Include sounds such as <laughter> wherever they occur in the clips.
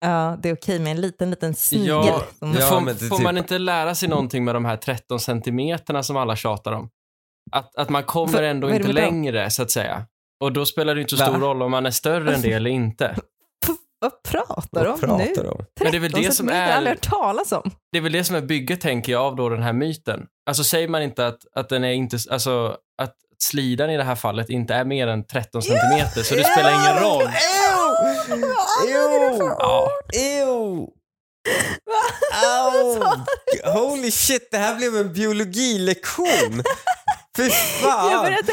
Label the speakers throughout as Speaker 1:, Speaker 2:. Speaker 1: Ja, det är okej med en liten, liten snigel.
Speaker 2: Ja,
Speaker 1: som-
Speaker 2: Men
Speaker 1: ja.
Speaker 3: ja.
Speaker 2: får,
Speaker 3: men det är
Speaker 2: får
Speaker 3: typ-
Speaker 2: man inte lära sig någonting med de här 13 centimeterna som alla tjatar om? Att, att man kommer
Speaker 1: För-
Speaker 2: ändå
Speaker 1: vad är det
Speaker 2: inte
Speaker 1: med dem?
Speaker 2: längre, så att säga. Och då spelar det inte så
Speaker 3: Va?
Speaker 2: stor roll om man är
Speaker 1: <laughs>
Speaker 2: större än det eller inte.
Speaker 1: Vad pratar de om
Speaker 3: Vad
Speaker 1: nu?
Speaker 3: pratar de om?
Speaker 2: Men det är väl det som
Speaker 1: Jag
Speaker 2: är-
Speaker 1: har aldrig hört talas om.
Speaker 2: Det är väl det som är bygget, tänker jag, av då den här myten. Alltså säger man inte att, att den är inte, alltså att slidan i det här fallet inte är mer än 13 centimeter, så det spelar ingen roll.
Speaker 3: Ew!
Speaker 2: Ja,
Speaker 3: Ew!
Speaker 1: Vad sa
Speaker 3: Au! Holy shit, det här blev en biologilektion! Fy fan!
Speaker 1: Jag började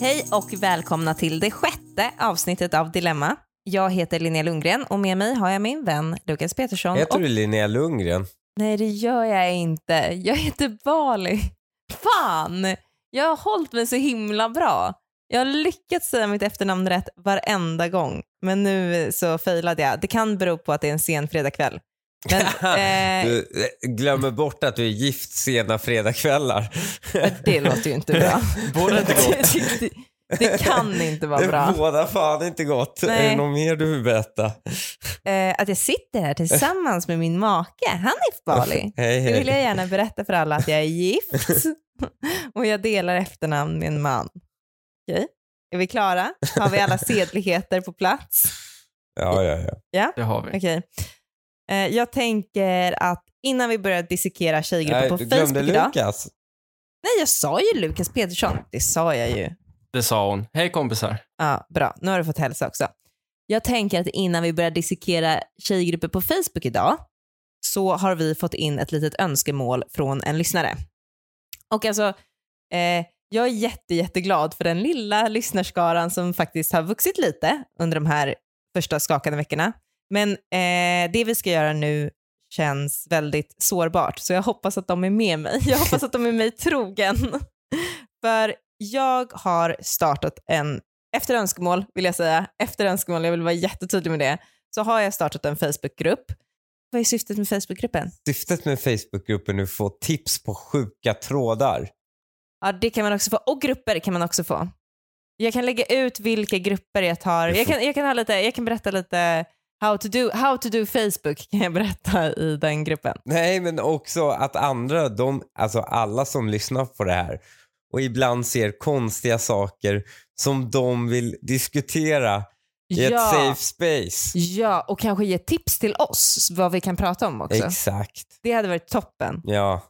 Speaker 1: Hej och välkomna till det sjätte avsnittet av Dilemma. Jag heter Linnea Lundgren och med mig har jag min vän Lukas Petersson.
Speaker 3: Heter
Speaker 1: och...
Speaker 3: du Linnea Lundgren?
Speaker 1: Nej, det gör jag inte. Jag heter Bali. Fan! Jag har hållit mig så himla bra. Jag har lyckats säga mitt efternamn rätt varenda gång, men nu så failade jag. Det kan bero på att det är en sen fredagkväll.
Speaker 2: <laughs>
Speaker 1: Men, eh,
Speaker 3: Du eh, glömmer bort att du är gift sena fredagkvällar.
Speaker 1: det låter ju inte
Speaker 3: <laughs>
Speaker 1: bra.
Speaker 2: båda inte gott.
Speaker 1: Det- det- Det kan inte vara
Speaker 3: Det
Speaker 1: bra.
Speaker 3: båda fan inte gott.
Speaker 1: Nej.
Speaker 3: Är det något mer du vill berätta?
Speaker 1: Eh, att jag sitter här tillsammans med min make, Hanif Bali.
Speaker 3: <laughs> Hej,
Speaker 1: Nu vill jag
Speaker 3: hej.
Speaker 1: gärna berätta för alla att jag är
Speaker 3: <laughs>
Speaker 1: gift och jag delar efternamn med en man. Okej, är vi klara? Har vi alla sedligheter på plats?
Speaker 3: Ja, ja, ja.
Speaker 2: det har vi.
Speaker 1: Okej. Eh, jag tänker att innan vi börjar dissekera tjejgrupper
Speaker 3: Nej,
Speaker 1: på
Speaker 3: du glömde
Speaker 1: Facebook idag.
Speaker 3: Lukas.
Speaker 1: Nej, jag sa ju Lukas Petersson. Det sa jag ju.
Speaker 2: Det sa hon. Hej kompisar.
Speaker 1: Ja, bra. Nu har du fått hälsa också. Jag tänker att innan vi börjar dissekera tjejgrupper på Facebook idag så har vi fått in ett litet önskemål från en lyssnare. Och alltså, eh, jag är jätte, jätteglad för den lilla lyssnarskaran som faktiskt har vuxit lite under de här första skakande veckorna. Men eh, det vi ska göra nu känns väldigt sårbart, så jag hoppas att de är med mig. Jag hoppas att de är mig trogen. <laughs> För jag har startat en efter önskemål vill jag säga, efter önskemål, jag vill vara jättetydlig med det, så har jag startat en Facebookgrupp. Vad är syftet med Facebookgruppen?
Speaker 3: Syftet med Facebookgruppen är att få tips på sjuka trådar.
Speaker 1: Ja, det kan man också få. Och grupper kan man också få. Jag kan lägga ut vilka grupper jag tar. Jag kan, jag kan, ha lite, jag kan berätta lite how to, do, how to do Facebook kan jag <laughs> berätta i den gruppen.
Speaker 3: Nej, men också att andra, de, alltså alla som lyssnar på det här och ibland ser konstiga saker som de vill diskutera i ett
Speaker 1: ja,
Speaker 3: safe space.
Speaker 1: ja, och kanske ge tips till oss vad vi kan prata om också.
Speaker 3: Exakt.
Speaker 1: Det hade varit toppen.
Speaker 3: Ja.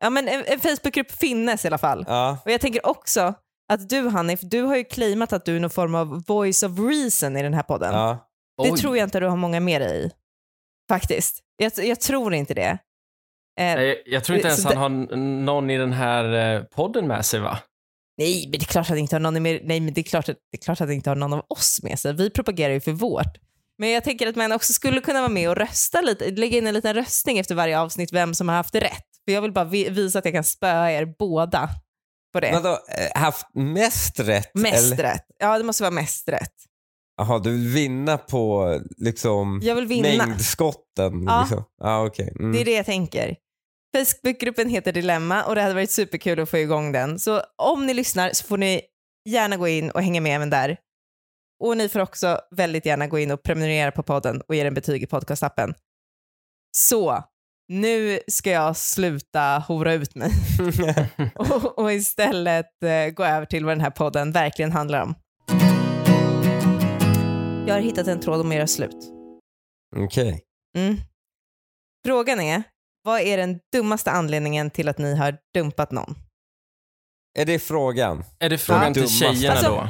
Speaker 1: Ja, men en, en Facebookgrupp finnes i alla fall.
Speaker 3: ja.
Speaker 1: Och jag tänker också att du Hanif, du har ju claimat att du är någon form av voice of reason i den här podden.
Speaker 3: ja.
Speaker 1: Det
Speaker 2: Oj.
Speaker 1: tror jag inte du har många med dig i. Faktiskt. Jag, jag tror inte det. Eh,
Speaker 2: Nej, jag tror inte ens
Speaker 1: Så
Speaker 2: han
Speaker 1: det-
Speaker 2: har n- någon i den här eh, podden med sig va?
Speaker 1: nej, men det är klart att inte har någon med, nej, men det är klart att, det är klart att inte har någon av oss med sig. Vi propagerar ju för vårt. Men jag tänker att man också skulle kunna vara med och rösta lite, lägga in en liten röstning efter varje avsnitt vem som har haft rätt. För jag vill bara vi, visa att jag kan spöa er båda på det.
Speaker 3: Vadå, eh, haft mest rätt?
Speaker 1: Mest
Speaker 3: eller-
Speaker 1: rätt. Ja, det måste vara mest rätt.
Speaker 3: Jaha, du vill vinna på liksom
Speaker 1: Jag vill vinna.
Speaker 3: mängdskotten?
Speaker 1: Ja.
Speaker 3: Liksom. Ja, okej. Mm.
Speaker 1: Det är det jag tänker. Facebookgruppen heter Dilemma och det hade varit superkul att få igång den. Så om ni lyssnar så får ni gärna gå in och hänga med även där. Och ni får också väldigt gärna gå in och prenumerera på podden och ge den betyg i podcastappen. Så, nu ska jag sluta hora ut mig <laughs> och, och istället eh, gå över till vad den här podden verkligen handlar om. Jag har hittat en tråd om att göra slut.
Speaker 3: <laughs> Okej.
Speaker 1: Mm. Frågan är, vad är den dummaste anledningen till att ni har dumpat någon?
Speaker 3: Är det frågan?
Speaker 2: Är det frågan
Speaker 3: Ja.
Speaker 2: till
Speaker 3: Dummaste.
Speaker 2: tjejerna
Speaker 1: Alltså-
Speaker 2: då?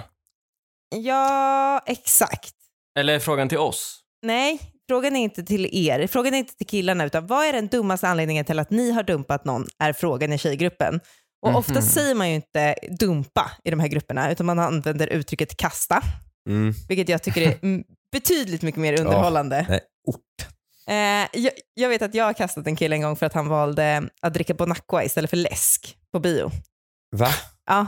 Speaker 1: Ja, exakt.
Speaker 2: Eller är frågan till oss?
Speaker 1: Nej, frågan är inte till er. Frågan är inte till killarna, utan vad är den dummaste anledningen till att ni har dumpat någon? Är frågan i tjejgruppen. Och ofta
Speaker 2: Mhm.
Speaker 1: säger man ju inte dumpa i de här grupperna, utan man använder uttrycket kasta,
Speaker 3: Mm.
Speaker 1: vilket jag tycker <laughs> är mm, betydligt mycket mer underhållande.
Speaker 3: nej,
Speaker 1: Eh, jag, jag vet att jag har kastat en kille en gång för att han valde att dricka Bonacqua istället för läsk på bio.
Speaker 3: Va?
Speaker 1: Ja.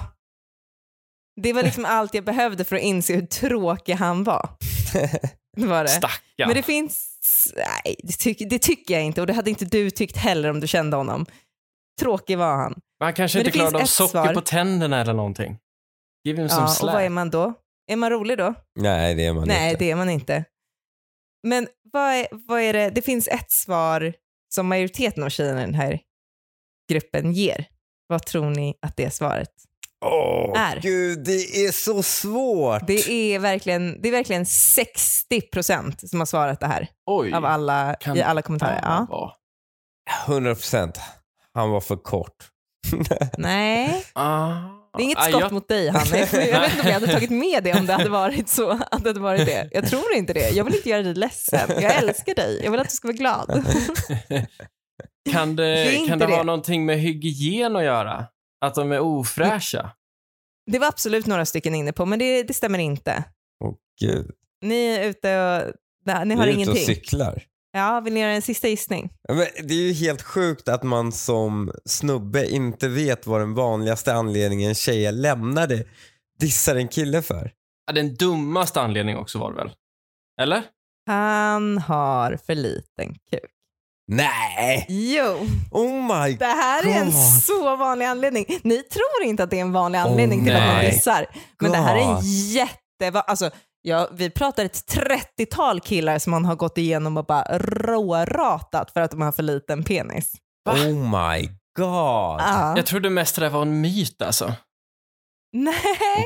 Speaker 1: Det var liksom allt jag behövde för att inse hur tråkig han var. Det var det.
Speaker 2: Stackarn.
Speaker 1: Men det finns S- Nej, det, tyck, det tycker jag inte och det hade inte du tyckt heller om du kände honom. Tråkig var han.
Speaker 2: Men han kanske
Speaker 1: Men det
Speaker 2: inte
Speaker 1: finns
Speaker 2: klarade av
Speaker 1: ett
Speaker 2: socker
Speaker 1: svar.
Speaker 2: på tänderna eller någonting. Give him some
Speaker 1: Ja, och
Speaker 2: slack.
Speaker 1: vad är man då? Är man rolig då?
Speaker 3: Nej, det är man
Speaker 1: Nej,
Speaker 3: inte.
Speaker 1: det är man inte. Men vad är, vad är det? Det finns ett svar som majoriteten av tjejerna i den här gruppen ger. Vad tror ni att det är svaret?
Speaker 3: Åh,
Speaker 1: är.
Speaker 3: gud, det är så svårt.
Speaker 1: Det är verkligen, det är verkligen 60 procent som har svarat det här
Speaker 2: Oj.
Speaker 1: av alla,
Speaker 2: Kan-
Speaker 1: i alla kommentarer. Ja.
Speaker 2: Ja.
Speaker 3: 100 procent. Han var för kort.
Speaker 1: Nej,
Speaker 2: Ah.
Speaker 1: det är inget
Speaker 2: Ah,
Speaker 1: skott
Speaker 2: jag-
Speaker 1: mot dig Hanna. Jag, jag vet inte om jag hade tagit med det om det hade varit så. Att det hade varit det. Jag tror inte det. Jag vill inte göra dig ledsen. Jag älskar dig. Jag vill att du ska vara glad.
Speaker 2: Kan
Speaker 1: Det är
Speaker 2: det,
Speaker 1: inte
Speaker 2: kan det,
Speaker 1: det.
Speaker 2: ha någonting med hygien att göra? Att de är ofräscha?
Speaker 1: Det var absolut några stycken inne på, men det, det stämmer inte.
Speaker 3: Gud,
Speaker 1: Ni är ute och... Nej, ni
Speaker 3: vi
Speaker 1: har
Speaker 3: är ute och
Speaker 1: ingenting.
Speaker 3: cyklar.
Speaker 1: Ja, vill ni göra en sista gissning?
Speaker 3: Ja, Men det är ju helt sjukt att man som snubbe inte vet vad den vanligaste anledningen tjejer lämnade dissar en kille för.
Speaker 2: Ja, Den dummaste anledningen också var det väl? Eller?
Speaker 1: Han har för liten kuk.
Speaker 3: Nej!
Speaker 1: Jo,
Speaker 3: Oh my
Speaker 1: det här är en
Speaker 3: God.
Speaker 1: så vanlig anledning. Ni tror inte att det är en vanlig anledning
Speaker 3: Oh,
Speaker 1: till att man
Speaker 2: nej.
Speaker 1: dissar. Men det här är en
Speaker 3: God.
Speaker 1: jätte... Alltså, ja, vi pratar ett 30-tal killar som man har gått igenom och bara råratat för att de har för liten penis.
Speaker 2: Va?
Speaker 3: Oh my god.
Speaker 1: Ja.
Speaker 2: Jag trodde mest det där var en myt alltså.
Speaker 1: Nej,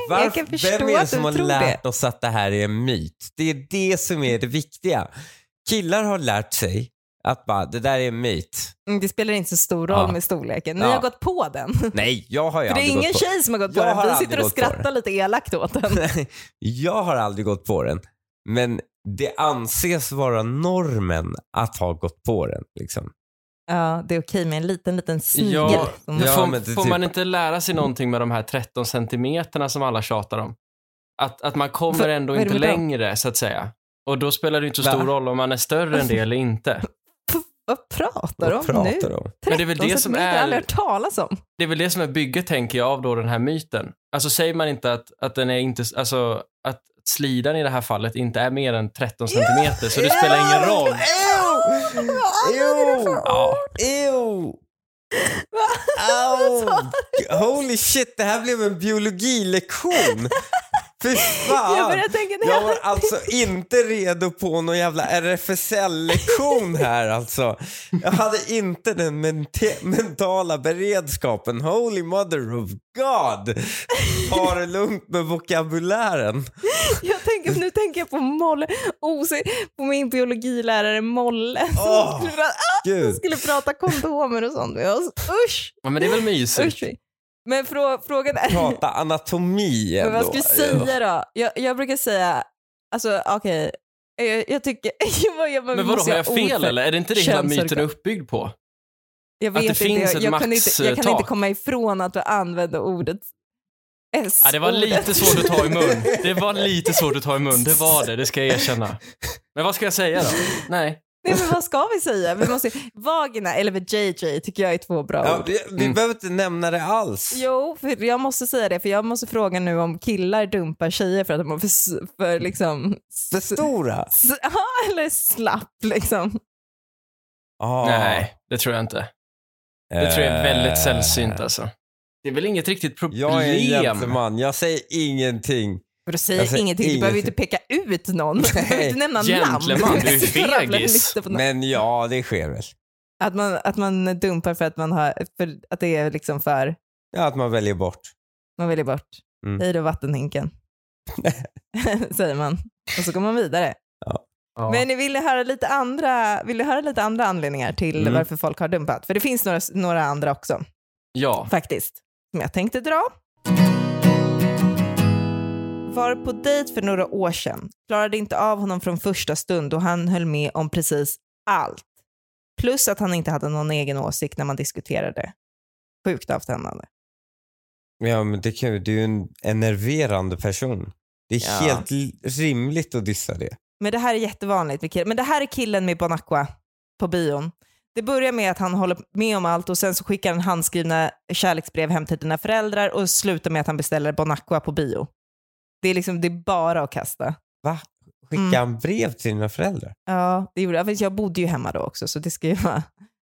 Speaker 3: Varför-
Speaker 1: jag kan förstå
Speaker 3: Vem är det
Speaker 1: att
Speaker 3: som
Speaker 1: du
Speaker 3: har
Speaker 1: tror det.
Speaker 3: lärt oss att det här är en myt? Det är det som är det viktiga. Killar har lärt sig att bara, det där är en myt.
Speaker 1: Mm, Det spelar inte så stor roll
Speaker 3: Ja.
Speaker 1: med storleken. Ni
Speaker 3: Ja.
Speaker 1: har gått på den.
Speaker 3: Nej, jag har ju
Speaker 1: För <laughs> det är
Speaker 3: aldrig
Speaker 1: ingen
Speaker 3: gått på
Speaker 1: tjej som har gått
Speaker 3: Jag
Speaker 1: på den.
Speaker 3: har
Speaker 1: Vi
Speaker 3: aldrig
Speaker 1: sitter och
Speaker 3: gått på
Speaker 1: skrattar lite elakt åt
Speaker 3: <laughs>
Speaker 1: den.
Speaker 3: Nej, jag har aldrig gått på den. Men det anses vara normen att ha gått på den. Liksom.
Speaker 1: Ja, det är okej med en liten, liten snigel.
Speaker 2: Ja,
Speaker 1: som-
Speaker 3: ja.
Speaker 2: får
Speaker 3: men det är
Speaker 2: får
Speaker 3: typ-
Speaker 2: man inte lära sig någonting med de här 13 centimeterna som alla tjatar om? Att, att man kommer
Speaker 1: För-
Speaker 2: ändå
Speaker 1: vad är det
Speaker 2: inte
Speaker 1: med dem?
Speaker 2: längre, så att säga. Och då spelar det inte så
Speaker 3: Va?
Speaker 2: stor roll om man är större än det
Speaker 1: <laughs>
Speaker 2: eller inte.
Speaker 1: Vad pratar de om
Speaker 3: Vad
Speaker 1: nu?
Speaker 3: pratar de om?
Speaker 2: Men det är väl det som
Speaker 1: har
Speaker 2: är-
Speaker 1: aldrig hört talas om.
Speaker 2: Det är väl det som är bygget, tänker jag, av då den här myten. Alltså säger man inte att, att den är inte, alltså att slidan i det här fallet inte är mer än 13 centimeter, så det spelar ingen roll.
Speaker 3: Ew! Ja. Ew! Au! Holy shit, det här blev en biologilektion! Fy
Speaker 1: Jag
Speaker 3: fan!
Speaker 1: börjar tänka,
Speaker 3: Jag
Speaker 1: nej,
Speaker 3: var alltså inte redo på någon jävla RFSL-lektion här alltså. Jag hade inte den mente- mentala beredskapen. Holy mother of God! Ta det lugnt med vokabulären.
Speaker 1: jag tänker, nu tänker jag på Molle, oh, se, på min biologilärare Molle som
Speaker 3: Åh,
Speaker 1: skulle, prata,
Speaker 3: Gud.
Speaker 1: skulle prata kondomer och sånt med oss. Usch!
Speaker 2: Ja, men det är väl mysigt?
Speaker 1: usch. Men frå, frågan är... <laughs>
Speaker 3: Prata anatomi ändå.
Speaker 1: Men vad ska jag säga då? Jag, jag brukar säga, alltså okej, jag, jag tycker... <laughs> vad gör man?
Speaker 2: Men vadå,
Speaker 1: Måste
Speaker 2: har jag
Speaker 1: ha ord
Speaker 2: fel
Speaker 1: för-
Speaker 2: eller? Är det inte det hela
Speaker 1: könsorgan?
Speaker 2: myten är uppbyggd på?
Speaker 1: Jag
Speaker 2: Att
Speaker 1: vet
Speaker 2: det
Speaker 1: inte,
Speaker 2: finns
Speaker 1: jag,
Speaker 2: ett
Speaker 1: jag, kan inte, jag kan inte
Speaker 2: maxtak?
Speaker 1: komma ifrån att du använde ordet S.
Speaker 2: Ja, det var lite svårt att ta i mun.
Speaker 1: <laughs>
Speaker 2: Det var lite svårt att ta i mun, det var det, det ska jag erkänna. Men vad ska jag säga då? Nej.
Speaker 1: Nej, men vad ska vi säga? Vi måste, vagina eller JJ tycker jag är två bra
Speaker 3: Ja,
Speaker 1: ord.
Speaker 3: vi vi
Speaker 2: Mm.
Speaker 3: behöver inte nämna det alls.
Speaker 1: Jo, för jag måste säga det, för jag måste fråga nu om killar dumpar tjejer för att de har för, s- för liksom... s-
Speaker 3: För stora?
Speaker 1: s- Ja, eller slapp liksom.
Speaker 3: Ah.
Speaker 2: Nej, det tror jag inte. Det tror jag är väldigt
Speaker 3: Eh,
Speaker 2: sällsynt alltså. Det är väl inget riktigt problem?
Speaker 3: Jag är en gentleman, jag säger ingenting.
Speaker 1: För du säger
Speaker 3: Jag säger
Speaker 1: ingenting, du behöver ju inte
Speaker 3: Alltså, ingenting.
Speaker 1: peka ut någon. Du behöver inte nämna
Speaker 2: Gentleman,
Speaker 1: namn. <laughs>
Speaker 2: du är
Speaker 1: Rabbla upp
Speaker 2: fegis.
Speaker 1: listor på namn.
Speaker 3: Men ja, det sker väl.
Speaker 1: Att man, att man dumpar för att, man har, för att det är liksom för,
Speaker 3: Ja, att man väljer bort.
Speaker 1: man väljer bort.
Speaker 3: Mm.
Speaker 1: Hej då
Speaker 3: <laughs>
Speaker 1: vattenhinken. <laughs> Säger man. Och så går man vidare.
Speaker 2: Ja.
Speaker 1: Men ni ville höra lite andra, vill ni höra lite andra anledningar till
Speaker 3: Mm.
Speaker 1: varför folk har dumpat? För det finns några, några andra också
Speaker 2: ja.
Speaker 1: faktiskt. Som jag tänkte dra. Var på dejt för några år sedan. Klarade inte av honom från första stund och han höll med om precis allt. Plus att han inte hade någon egen åsikt när man diskuterade. Sjukt avtändande.
Speaker 3: Ja, men det kan, ju- du är ju en enerverande person. Det är
Speaker 1: Ja.
Speaker 3: helt l- rimligt att dissa det.
Speaker 1: Men det här är jättevanligt med killar. Men det här är killen med Bonacqua på bion. Det börjar med att han håller med om allt och sen så skickar han handskrivna kärleksbrev hem till dina föräldrar och slutar med att han beställer Bonacqua på bio. Det är liksom, det är bara att kasta.
Speaker 3: Skicka en brev till dina föräldrar.
Speaker 1: Ja, det gjorde jag. För jag bodde ju hemma då också, så det ska ju vara...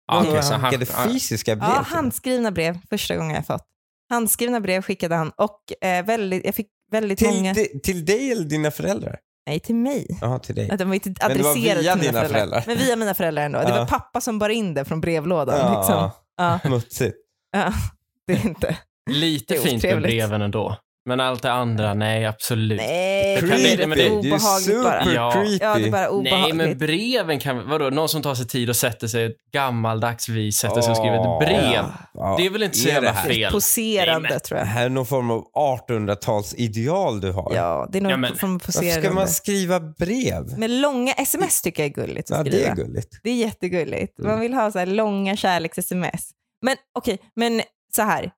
Speaker 2: Ja, okej,
Speaker 3: han
Speaker 2: så han-
Speaker 3: skickade fysiska brev.
Speaker 1: <laughs> Ja,
Speaker 3: till dem.
Speaker 1: handskrivna brev. Första gången jag fått. Handskrivna brev skickade han och eh, väldigt, jag fick väldigt
Speaker 3: till,
Speaker 1: många...
Speaker 3: di- till dig eller dina föräldrar?
Speaker 1: Nej, till mig.
Speaker 3: Ja, till dig.
Speaker 1: Nej, de var inte
Speaker 3: det var
Speaker 1: adresserade
Speaker 3: via
Speaker 1: till mina
Speaker 3: dina
Speaker 1: föräldrar.
Speaker 3: föräldrar.
Speaker 1: Men via mina föräldrar ändå. Det
Speaker 3: Ja.
Speaker 1: var pappa som bar in det från brevlådan. Ja. Liksom.
Speaker 3: Ja,
Speaker 1: Ja,
Speaker 3: <laughs> smutsigt.
Speaker 1: ja, <laughs> det är inte...
Speaker 2: Lite
Speaker 1: Det är
Speaker 2: fint med
Speaker 1: otrevligt.
Speaker 2: breven ändå. Men allt det andra, nej absolut.
Speaker 1: Nej,
Speaker 2: Creepy.
Speaker 1: det
Speaker 2: Nej, men
Speaker 1: är
Speaker 2: det-
Speaker 3: Det är
Speaker 1: obehagligt bara.
Speaker 3: super
Speaker 2: Ja.
Speaker 3: creepy.
Speaker 1: Ja, det är bara
Speaker 2: Nej,
Speaker 1: obehagligt.
Speaker 2: men breven kan Vadå, någon som tar sig tid och sätter sig ett gammaldags vis sätter sig och skriver
Speaker 3: Åh.
Speaker 2: ett brev.
Speaker 3: Ja. Ja.
Speaker 2: Det är väl inte så
Speaker 3: Är det
Speaker 2: jävla
Speaker 3: här?
Speaker 2: fel?
Speaker 1: Poserande
Speaker 2: Nej, men-
Speaker 1: tror
Speaker 3: Det
Speaker 1: jag.
Speaker 3: här är någon form av 1800-talsideal du har.
Speaker 1: Ja, det är nog
Speaker 2: Ja, men-
Speaker 1: som
Speaker 3: Varför ska
Speaker 1: poserande.
Speaker 3: man skriva brev?
Speaker 1: Men långa sms tycker jag är gulligt att
Speaker 3: Ja,
Speaker 1: skriva.
Speaker 3: det är gulligt.
Speaker 1: Det är jättegulligt.
Speaker 3: Mm.
Speaker 1: Man vill ha så här långa kärleks-sms. Men okej, men så här.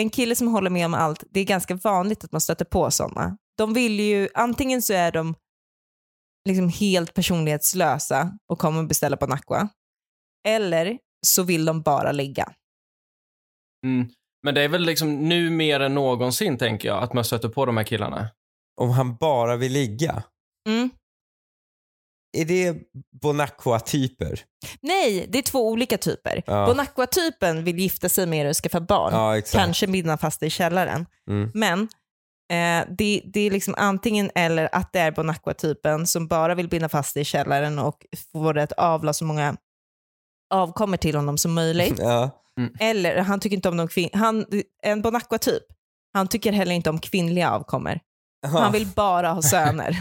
Speaker 1: En kille som håller med om allt, det är ganska vanligt att man stöter på sådana. De vill ju, antingen så är de liksom helt personlighetslösa och kommer beställa på Nacka. Eller så vill de bara ligga.
Speaker 2: Mm. Men det är väl liksom nu mer än någonsin, tänker jag, att man stöter på de här killarna.
Speaker 3: Om han bara vill ligga.
Speaker 1: Mm.
Speaker 3: Är det Bonacqua-typer?
Speaker 1: Nej, det är två olika typer.
Speaker 3: Ja.
Speaker 1: Bonacqua-typen vill gifta sig med er och skaffa barn.
Speaker 3: Ja, exakt.
Speaker 1: Kanske binda fast dig i källaren.
Speaker 3: Mm.
Speaker 1: Men eh, det, det är liksom antingen eller att det är Bonacqua-typen som bara vill binda fast dig i källaren och få det att avla så många avkommor till honom som
Speaker 3: <laughs>
Speaker 1: möjligt.
Speaker 3: Ja.
Speaker 1: Eller han tycker inte om de kvin- han, En Bonacqua-typ, han tycker heller inte om kvinnliga avkommor. Han vill bara ha söner.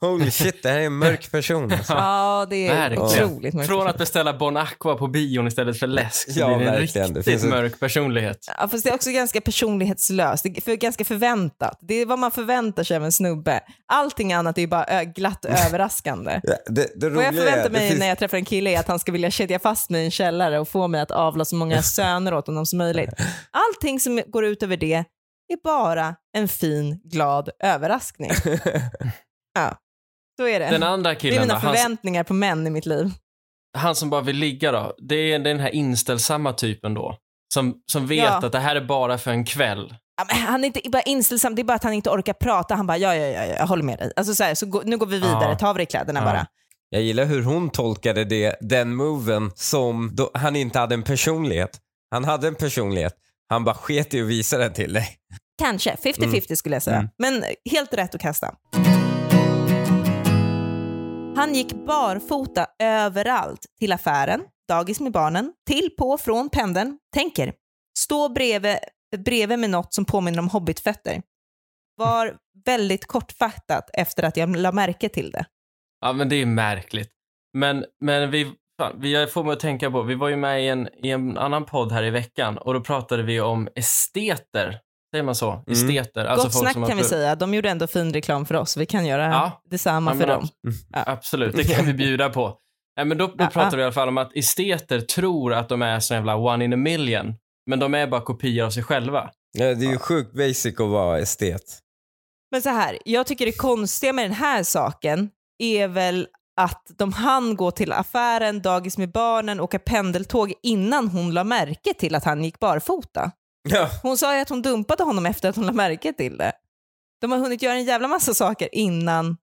Speaker 3: Holy shit, det här är en
Speaker 1: <laughs>
Speaker 3: mörk person. Alltså.
Speaker 1: ja, det är
Speaker 2: Verkligen.
Speaker 1: otroligt mörkt.
Speaker 2: Från att beställa Bon Aqua på bion istället för läsk så
Speaker 3: Ja,
Speaker 2: blir det en
Speaker 3: verkligen.
Speaker 2: riktigt
Speaker 3: Det finns en-
Speaker 2: mörk personlighet.
Speaker 1: Ja, fast det är också ganska personlighetslöst. Det är för, ganska förväntat. Det är vad man förväntar sig av en snubbe. Allting annat är ju bara ö-
Speaker 3: <laughs>
Speaker 1: glatt och överraskande.
Speaker 3: Ja, Det, det
Speaker 1: Vad
Speaker 3: roliga
Speaker 1: jag
Speaker 3: är,
Speaker 1: förväntar
Speaker 3: det
Speaker 1: mig
Speaker 3: finns-
Speaker 1: när jag träffar en kille är att han ska vilja kedja fast mig i en källare och få mig att avla så
Speaker 3: <laughs>
Speaker 1: många söner åt honom som möjligt. Allting som går ut över det är bara en fin, glad
Speaker 3: <laughs>
Speaker 1: överraskning. Ja, så är det.
Speaker 2: Den andra
Speaker 1: Det är
Speaker 2: killen då,
Speaker 1: mina
Speaker 2: han,
Speaker 1: förväntningar på män i mitt liv.
Speaker 2: han som bara vill ligga då, det är den här inställsamma typen då. Som, som vet
Speaker 1: Ja.
Speaker 2: att det här är bara för en kväll.
Speaker 1: Ja, men han är inte bara inställsam, det är bara att han inte orkar prata. Han bara, ja, ja, ja, ja, jag håller med dig. Alltså, så här, så gå, nu går vi vidare,
Speaker 2: Ja.
Speaker 1: ta av dig kläderna
Speaker 2: Ja.
Speaker 1: bara.
Speaker 3: Jag gillar hur hon tolkade det, den moven som då, han inte hade en personlighet. Han hade en personlighet. Han bara sket i att visa den till dig.
Speaker 1: Kanske, 50-50 skulle jag säga.
Speaker 3: Mm.
Speaker 1: Men helt rätt att kasta. Han gick barfota överallt. Till affären, dagis med barnen, till, på, från pendeln. Tänker, stå bredvid, bredvid med något som påminner om hobbitfötter. Var väldigt kortfattat efter att jag la märke till det.
Speaker 2: Ja, men det är märkligt. Men, men vi, fan, vi jag får mig att tänka på, vi var ju med i en, i en annan podd här i veckan och då pratade vi om esteter. Säger man så? Esteter.
Speaker 1: Mm. Gott snack
Speaker 2: Alltså, har
Speaker 1: kan vi
Speaker 2: pro-
Speaker 1: säga. De gjorde ändå fin reklam för oss. Vi kan göra
Speaker 2: Ja.
Speaker 1: detsamma
Speaker 2: Ja, men
Speaker 1: för dem.
Speaker 2: Mm. Absolut, det kan vi bjuda på. Nej, men då, då
Speaker 1: Ja,
Speaker 2: pratar
Speaker 1: ja.
Speaker 2: vi i alla fall om att esteter tror att de är sån jävla one in a million. Men de är bara kopior av sig själva.
Speaker 3: Ja, det är ju sjukt basic att vara estet.
Speaker 1: Men så här, jag tycker det konstiga med den här saken är väl att de hann gå till affären, dagis med barnen, åka pendeltåg innan hon la märke till att han gick barfota.
Speaker 3: Ja.
Speaker 1: Hon sa ju att hon dumpade honom efter att hon la märke till det. De har hunnit göra en jävla massa saker innan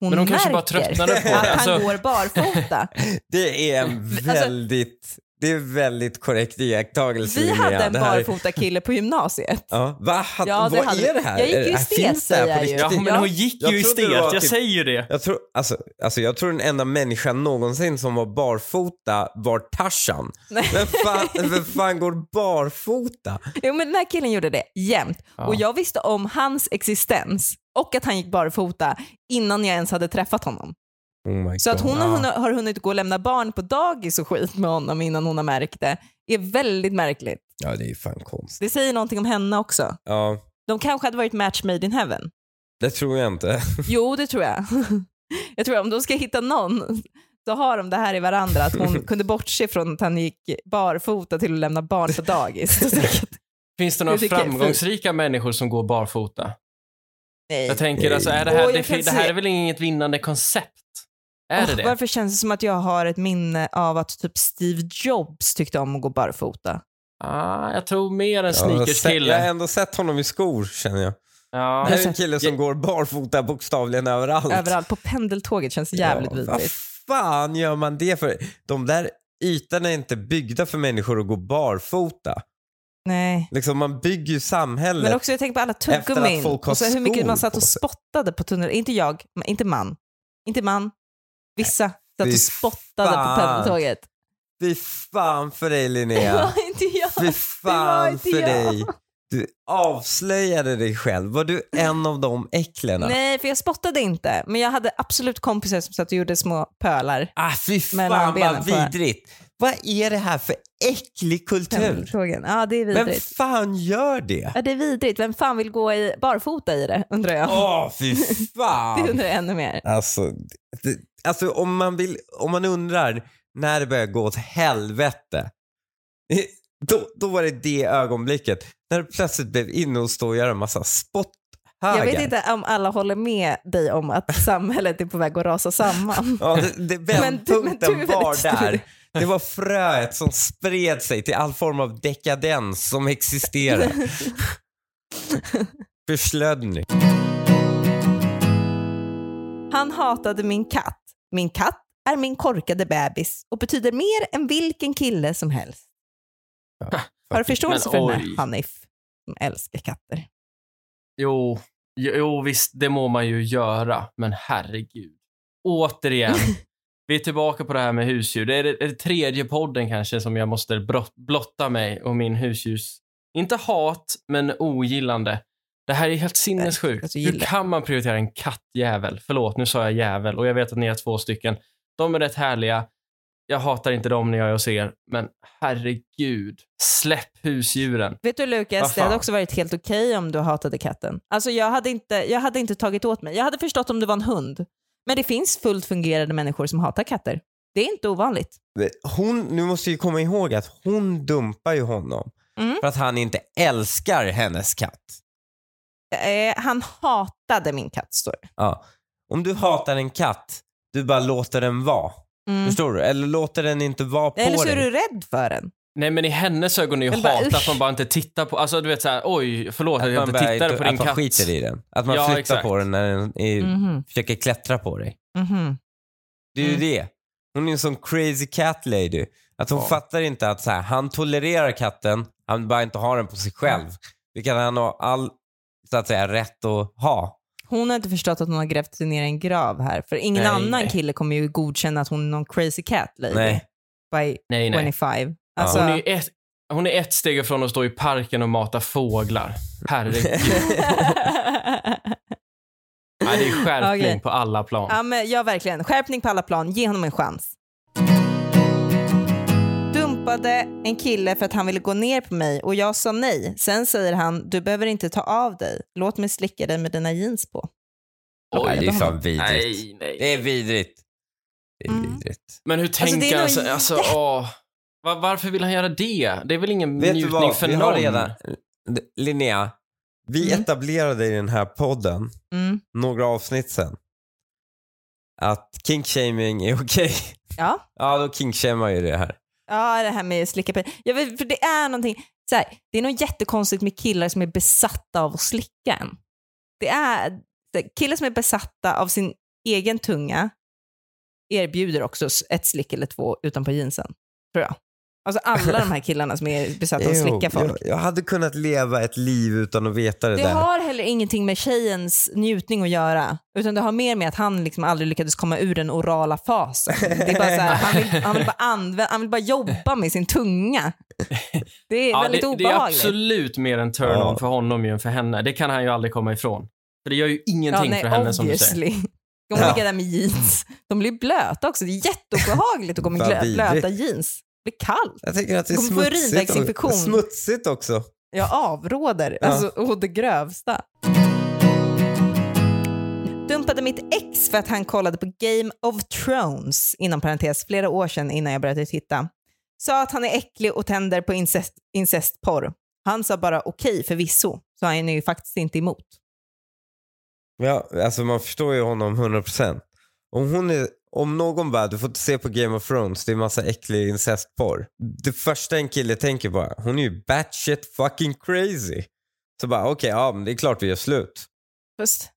Speaker 1: hon
Speaker 2: Men hon
Speaker 1: märker
Speaker 2: kanske bara tröttnade
Speaker 1: <laughs>
Speaker 2: på det.
Speaker 1: att han
Speaker 2: Alltså-
Speaker 1: går
Speaker 2: <laughs>
Speaker 1: barfota.
Speaker 3: Det är
Speaker 1: <laughs>
Speaker 3: en
Speaker 1: Alltså-
Speaker 3: väldigt, det är en väldigt korrekt iakttagelse.
Speaker 1: Vi
Speaker 3: Linnea.
Speaker 1: hade en
Speaker 3: Det här-
Speaker 1: barfota kille på gymnasiet.
Speaker 3: Ja, va? Hade,
Speaker 1: Ja, det
Speaker 3: vad
Speaker 1: hade-
Speaker 3: är det här?
Speaker 1: jag gick
Speaker 3: Är det-
Speaker 1: ju
Speaker 3: här
Speaker 1: estet,
Speaker 3: finns det här på
Speaker 1: säger jag ju.
Speaker 3: riktigt?
Speaker 2: Ja, men
Speaker 1: Ja.
Speaker 2: hon gick
Speaker 3: Jag
Speaker 2: ju i
Speaker 3: trodde det
Speaker 2: stet.
Speaker 3: var
Speaker 2: Jag
Speaker 3: typ-
Speaker 2: säger ju det.
Speaker 3: Jag tror, alltså, alltså, jag tror den enda människan någonsin som var barfota var Tarzan.
Speaker 1: Nej.
Speaker 3: Vem fan, vem fan går barfota?
Speaker 1: Jo men den här killen gjorde det jämt.
Speaker 2: Ja.
Speaker 1: Och jag visste om hans existens och att han gick barfota innan jag ens hade träffat honom.
Speaker 3: Oh my
Speaker 1: Så att
Speaker 3: God.
Speaker 1: hon har hunnit, har hunnit gå och lämna barn på dagis och skit med honom innan hon har märkt det är väldigt märkligt.
Speaker 3: Ja, det är ju fan konstigt.
Speaker 1: Det säger någonting om henne också.
Speaker 3: Ja,
Speaker 1: De kanske hade varit match made in
Speaker 2: <laughs>
Speaker 1: heaven.
Speaker 3: det tror jag inte.
Speaker 1: Jo, det tror jag. <laughs> Jag tror att om de ska hitta någon så har de det här i varandra. Att
Speaker 2: <laughs>
Speaker 1: hon kunde bortse från att han gick barfota till att lämna barn på dagis. <laughs> Så säkert-
Speaker 2: Finns det några
Speaker 1: Jag tycker-
Speaker 2: framgångsrika människor som går barfota?
Speaker 1: Nej.
Speaker 2: Jag tänker alltså, är det
Speaker 1: Eh, Åh,
Speaker 2: här,
Speaker 1: jag
Speaker 2: det,
Speaker 1: kan
Speaker 2: det här
Speaker 1: se-
Speaker 2: är väl inget vinnande koncept? Är det
Speaker 1: Åh,
Speaker 2: det?
Speaker 1: Varför känns det som att jag har ett minne av att typ Steve Jobs tyckte om att gå barfota?
Speaker 2: Ah, jag tror mer en
Speaker 3: Ja, jag har sett- Jag har
Speaker 2: sneakerskille.
Speaker 3: ändå sett honom i skor känner jag.
Speaker 2: Ja.
Speaker 3: Det här är en
Speaker 1: Alltså-
Speaker 3: kille som går barfota bokstavligen överallt.
Speaker 1: Överallt. På pendeltåget känns jävligt
Speaker 3: Ja, Vad
Speaker 1: vidrigt.
Speaker 3: fan gör man det för? De där ytorna är inte byggda för människor att gå barfota.
Speaker 1: Nej.
Speaker 3: Liksom man bygger ju samhället.
Speaker 1: Men också jag tänker på alla
Speaker 3: Efter att
Speaker 1: tuggummin.
Speaker 3: folk har
Speaker 1: Och så hur mycket
Speaker 3: skor
Speaker 1: man satt
Speaker 3: på
Speaker 1: och
Speaker 3: sig.
Speaker 1: spottade på tunneln. Inte jag, men inte man. Inte man. Vissa satt
Speaker 3: fy
Speaker 1: och spottade
Speaker 3: fan.
Speaker 1: på pendeltåget.
Speaker 3: Fy fan för dig
Speaker 1: <laughs> Det
Speaker 3: Linnea.
Speaker 1: var inte jag.
Speaker 3: Fy
Speaker 1: var
Speaker 3: fan
Speaker 1: inte
Speaker 3: för
Speaker 1: jag.
Speaker 3: dig. Du avslöjade dig själv. Var du en av de äcklena?
Speaker 1: Nej, för jag spottade inte. Men jag hade absolut kompisar som satt och gjorde små pölar.
Speaker 3: Ah, fy
Speaker 1: Mellan
Speaker 3: fan
Speaker 1: benen
Speaker 3: vad
Speaker 1: på en.
Speaker 3: vidrigt. Vad är det här för äcklig kultur?
Speaker 1: Pendeltågen. Ja, det är
Speaker 3: Vem
Speaker 1: vidrigt.
Speaker 3: fan gör det?
Speaker 1: Ja, det är vidrigt. Vem fan vill gå i barfota i det, undrar jag.
Speaker 3: Åh, fy
Speaker 1: <laughs> Det
Speaker 3: fan.
Speaker 1: undrar jag ännu mer.
Speaker 3: Alltså, det, alltså om, man vill, om man undrar när det börjar gå åt helvete, <laughs> då, då var det det ögonblicket. När du plötsligt blev inne och stå och göra en massa spotthögar.
Speaker 1: Jag vet inte om alla håller med dig om att <laughs> samhället är på väg att rasa
Speaker 2: <laughs>
Speaker 1: samman.
Speaker 3: Ja, det, det,
Speaker 1: <laughs> Men du- men du är
Speaker 3: vändpunkten
Speaker 1: väldigt
Speaker 3: var
Speaker 1: stor.
Speaker 3: där. Det var fröet som spred sig till all form av dekadens
Speaker 1: <laughs>
Speaker 3: som existerar. Förslödning.
Speaker 1: Han hatade min katt. Min katt är min korkade bebis och betyder mer än vilken kille som helst. Har du förståelse för
Speaker 2: Men
Speaker 1: den här
Speaker 2: oj.
Speaker 1: Hanif som älskar katter?
Speaker 2: Jo, jo, jo, visst, det må man ju göra. Men herregud. Återigen, vi är tillbaka på det här med husdjur. Det är, det är tredje podden kanske som jag måste brott, blotta mig och min husdjurs... Inte hat, men ogillande. Det här är helt sinnessjukt.
Speaker 1: alltså,
Speaker 2: Hur
Speaker 1: gilla.
Speaker 2: kan man prioritera en kattjävel? Förlåt, nu sa jag jävel och jag vet att ni är två stycken. De är rätt härliga. Jag hatar inte dem när jag är hos er, men herregud. Släpp husdjuren.
Speaker 1: Vet du
Speaker 2: Vad
Speaker 1: Lukas, det
Speaker 2: fan?
Speaker 1: hade också varit helt okej om du hatade katten. Alltså jag hade, inte, jag hade inte tagit åt mig. Jag hade förstått om det var en hund. Men det finns fullt fungerande människor som hatar katter. Det är inte ovanligt.
Speaker 3: Hon, nu måste vi komma ihåg att hon dumpar ju honom
Speaker 1: Mm.
Speaker 3: för att han inte älskar hennes katt.
Speaker 1: Eh, han hatade min katt, står det.
Speaker 3: Ja. Om du hatar en katt, du bara låter den vara.
Speaker 1: Mm.
Speaker 3: Förstår du? Eller låter den inte vara på
Speaker 1: Eller så
Speaker 3: dig.
Speaker 1: är du rädd för den.
Speaker 2: Nej men i hennes ögon är ju
Speaker 1: Men bara,
Speaker 2: hat att
Speaker 1: usch.
Speaker 2: man bara inte tittar på, alltså du vet såhär, oj förlåt att,
Speaker 3: Att
Speaker 2: jag
Speaker 3: man,
Speaker 2: inte
Speaker 3: bara,
Speaker 2: tittade på din
Speaker 3: att man
Speaker 2: katt.
Speaker 3: skiter i den. Att man
Speaker 2: Ja,
Speaker 3: flyttar
Speaker 2: exakt.
Speaker 3: på den när den är,
Speaker 1: Mhm,
Speaker 3: försöker klättra på dig.
Speaker 1: mhm.
Speaker 3: Det är ju
Speaker 1: Mm.
Speaker 3: det. Hon är en sån crazy cat lady. Att hon
Speaker 2: Ja.
Speaker 3: fattar inte att så här, han tolererar katten, han bara inte har den på sig själv. Vilket han har all så att säga, rätt att ha.
Speaker 1: Hon har inte förstått att hon har grävt ner i en grav här. För ingen
Speaker 2: Nej,
Speaker 1: annan
Speaker 2: nej.
Speaker 1: kille kommer ju godkänna att hon är någon crazy cat lady.
Speaker 3: Nej.
Speaker 1: By
Speaker 2: Nej nej.
Speaker 1: 25.
Speaker 3: Ja.
Speaker 1: Alltså,
Speaker 2: Hon är, ju ett, hon är ett steg ifrån att stå i parken och mata fåglar.
Speaker 1: <laughs>
Speaker 2: Herregud. Nej, det är skärpning
Speaker 1: Okej.
Speaker 2: på alla plan.
Speaker 1: <laughs> ja, men ja, verkligen. Skärpning på alla plan. Ge honom en chans. Dumpade en kille för att han ville gå ner på mig och jag sa nej. Sen säger han, du behöver inte ta av dig. Låt mig slicka dig med dina jeans på.
Speaker 3: Nej, det är så vidrigt.
Speaker 2: nej, nej.
Speaker 3: Det är vidrigt. Det är
Speaker 1: Mm.
Speaker 3: vidrigt.
Speaker 2: Men hur
Speaker 1: det
Speaker 2: tänker
Speaker 1: är
Speaker 2: han?
Speaker 1: nog
Speaker 2: så- Alltså, åh. Va- varför vill han göra det? Det är väl ingen
Speaker 3: Vet du
Speaker 2: njutning
Speaker 3: vad?
Speaker 2: för
Speaker 3: Vi har
Speaker 2: någon?
Speaker 3: redan... Linnea, vi
Speaker 1: Mm.
Speaker 3: etablerade i den här podden
Speaker 1: Mm.
Speaker 3: några avsnitt sen att kinkshaming är okej.
Speaker 1: Ja.
Speaker 3: <laughs> Ja, då kinkshamar ju det här.
Speaker 1: Ja, det här med slicka på... Jag vet, för det är någonting... Så här, det är något jättekonstigt med killar som är besatta av att slicka en. Det är... så här, Killar som är besatta av sin egen tunga erbjuder också s- ett slick eller två utanpå jeansen, tror jag. Alltså alla de här killarna som är besatta av att
Speaker 3: Jo,
Speaker 1: slicka folk.
Speaker 3: jag, jag hade kunnat leva ett liv utan att veta det,
Speaker 1: Det
Speaker 3: där.
Speaker 1: har heller ingenting med tjejens njutning att göra, utan det har mer med att han liksom aldrig lyckades komma ur den orala fasen. Det är bara så här, han, vill, han, vill bara använda, han vill bara jobba med sin tunga. Det är
Speaker 2: Ja,
Speaker 1: väldigt
Speaker 2: det, det är
Speaker 1: obehagligt.
Speaker 2: absolut mer en turn-on
Speaker 3: Ja.
Speaker 2: för honom ju än för henne. Det kan han ju aldrig komma ifrån. För det gör ju
Speaker 1: ja,
Speaker 2: ingenting
Speaker 1: nej,
Speaker 2: för henne som du säger.
Speaker 1: obviously. De
Speaker 3: Ja.
Speaker 1: ligger där med jeans. De blir blöta också. Det är jätteobehagligt att gå med
Speaker 3: Vad
Speaker 1: glö-
Speaker 3: vidrigt.
Speaker 1: blöta jeans. Det blir kallt.
Speaker 3: Jag tänker att det är
Speaker 1: Kommer få
Speaker 3: smutsigt,
Speaker 1: urinvägsinfektion.
Speaker 3: och, smutsigt också.
Speaker 1: Jag avråder.
Speaker 3: Ja.
Speaker 1: Alltså å det grövsta. Dumpade mitt ex för att han kollade på Game of Thrones, inom parentes, flera år sedan innan jag började titta. Sa att han är äcklig och tänder på incest, incestporr. Han sa bara okej förvisso, så han är ju faktiskt inte emot.
Speaker 3: Ja, alltså man förstår ju honom 100%. Om, hon är, om någon bara, du får inte se på Game of Thrones, det är massa äcklig incestporr. Det första en kille tänker bara, hon är ju batshit fucking crazy. Så bara, okej, ja, men det är klart vi gör slut.
Speaker 1: Fast,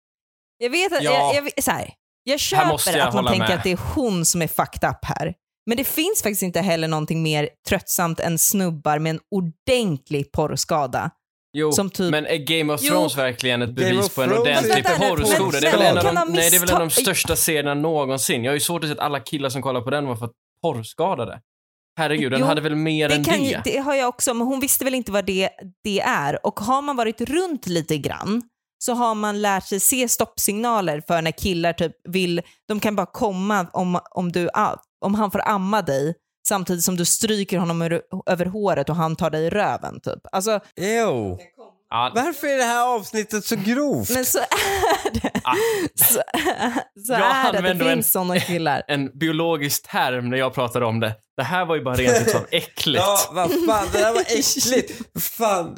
Speaker 1: jag vet att,
Speaker 2: Ja.
Speaker 1: jag, jag, så här, jag
Speaker 2: Här måste
Speaker 1: köper
Speaker 2: jag
Speaker 1: att man
Speaker 2: hålla
Speaker 1: tänker
Speaker 2: med.
Speaker 1: att det är hon som är fucked up här. Men det finns faktiskt inte heller någonting mer tröttsamt än snubbar med en ordentlig porrskada.
Speaker 2: Jo,
Speaker 1: Som typ-
Speaker 2: men är Game of
Speaker 1: Jo.
Speaker 2: Thrones verkligen ett
Speaker 3: Game
Speaker 2: bevis
Speaker 3: of
Speaker 2: på en
Speaker 3: Thrones-
Speaker 2: ordentlig
Speaker 1: Men vänta,
Speaker 2: porrskola?
Speaker 1: men
Speaker 2: Det är väl en av
Speaker 1: kan
Speaker 2: de,
Speaker 1: man
Speaker 2: nej, det är väl en av de
Speaker 1: missta-
Speaker 2: största serierna någonsin. Jag har ju svårt att se att alla killar som kollar på den var för att porrskadade. Herregud, den
Speaker 1: Jo,
Speaker 2: hade väl mer än
Speaker 1: Det, kan, ju-
Speaker 2: det.
Speaker 1: det har jag också, men hon visste väl inte vad det, det är. Och har man varit runt lite grann så har man lärt sig se stoppsignaler för när killar typ vill, de kan bara komma om, om, du, om han får amma dig samtidigt som du stryker honom ur, över håret och han tar dig i röven typ. Alltså,
Speaker 3: Ew.
Speaker 2: Ja,
Speaker 3: Varför är det här avsnittet så grovt?
Speaker 1: men så är det.
Speaker 2: ah,
Speaker 1: Så, så
Speaker 2: Jag
Speaker 1: är det, att
Speaker 2: använder
Speaker 1: det
Speaker 2: en-
Speaker 1: finns sådana killar.
Speaker 2: en biologisk term när jag pratade om det. Det här var ju bara rent
Speaker 1: <laughs>
Speaker 2: ut som äckligt.
Speaker 3: Ja, vad fan, det där var äckligt. Fan,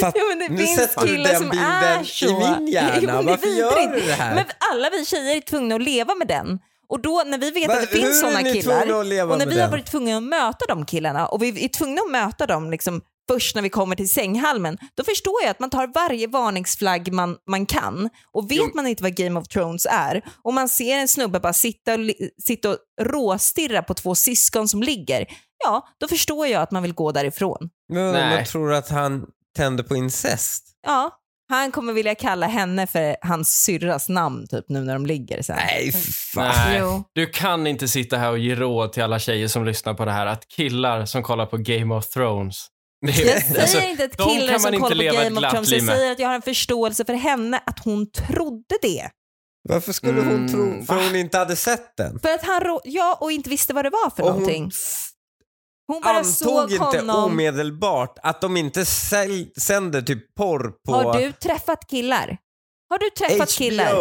Speaker 3: fatt,
Speaker 1: Ja, men det
Speaker 3: nu
Speaker 1: finns
Speaker 3: sätter du
Speaker 1: killar
Speaker 3: den
Speaker 1: som
Speaker 3: bilden
Speaker 1: är så.
Speaker 3: i min hjärna.
Speaker 1: <laughs> Jo, men det är
Speaker 3: Varför gör du
Speaker 1: vidrigt.
Speaker 3: det här?
Speaker 1: Men alla vi tjejer är tvungna att leva med den. Och då när vi vet
Speaker 3: Va-
Speaker 1: att det finns
Speaker 3: hur är
Speaker 1: sådana
Speaker 3: ni
Speaker 1: killar
Speaker 3: tvungna att leva
Speaker 1: och när
Speaker 3: med
Speaker 1: vi har
Speaker 3: den?
Speaker 1: varit tvungna att möta de killarna och vi är tvungna att möta dem liksom först när vi kommer till sänghalmen, då förstår jag att man tar varje varningsflagg man, man kan. Och vet
Speaker 2: Jo.
Speaker 1: man inte vad Game of Thrones är och man ser en snubbe bara sitta och, li- sitta och råstirra på två syskon som ligger, ja, då förstår jag att man vill gå därifrån.
Speaker 3: Men
Speaker 2: Nej.
Speaker 3: man tror att han tände på incest.
Speaker 1: Ja, han kommer vilja kalla henne för hans syrras namn typ nu när de ligger sen.
Speaker 3: Nej, för fan.
Speaker 2: Nej,
Speaker 1: Jo.
Speaker 2: du kan inte sitta här och ge råd till alla tjejer som lyssnar på det här att killar som kollar på Game of Thrones. <laughs> Det är-
Speaker 1: Jag säger
Speaker 2: alltså,
Speaker 1: inte att
Speaker 2: de
Speaker 1: killar
Speaker 2: kan man
Speaker 1: som
Speaker 2: inte
Speaker 1: kollar
Speaker 2: leva
Speaker 1: på
Speaker 2: ett
Speaker 1: Game of
Speaker 2: glatt
Speaker 1: Thrones,
Speaker 2: liv
Speaker 1: jag
Speaker 2: med.
Speaker 1: säger att jag har en förståelse för henne att hon trodde det.
Speaker 3: Varför skulle hon
Speaker 2: Mm,
Speaker 3: tro? För
Speaker 2: va?
Speaker 3: hon inte hade sett den.
Speaker 1: För att han rå- ja, och inte visste vad det var för
Speaker 3: Och
Speaker 1: någonting.
Speaker 3: hon
Speaker 1: Hon bara såg
Speaker 3: antog inte
Speaker 1: honom.
Speaker 3: omedelbart att de inte säl- sänder typ porr på
Speaker 1: Har du träffat killar? Har du träffat
Speaker 3: HBO.
Speaker 1: killar?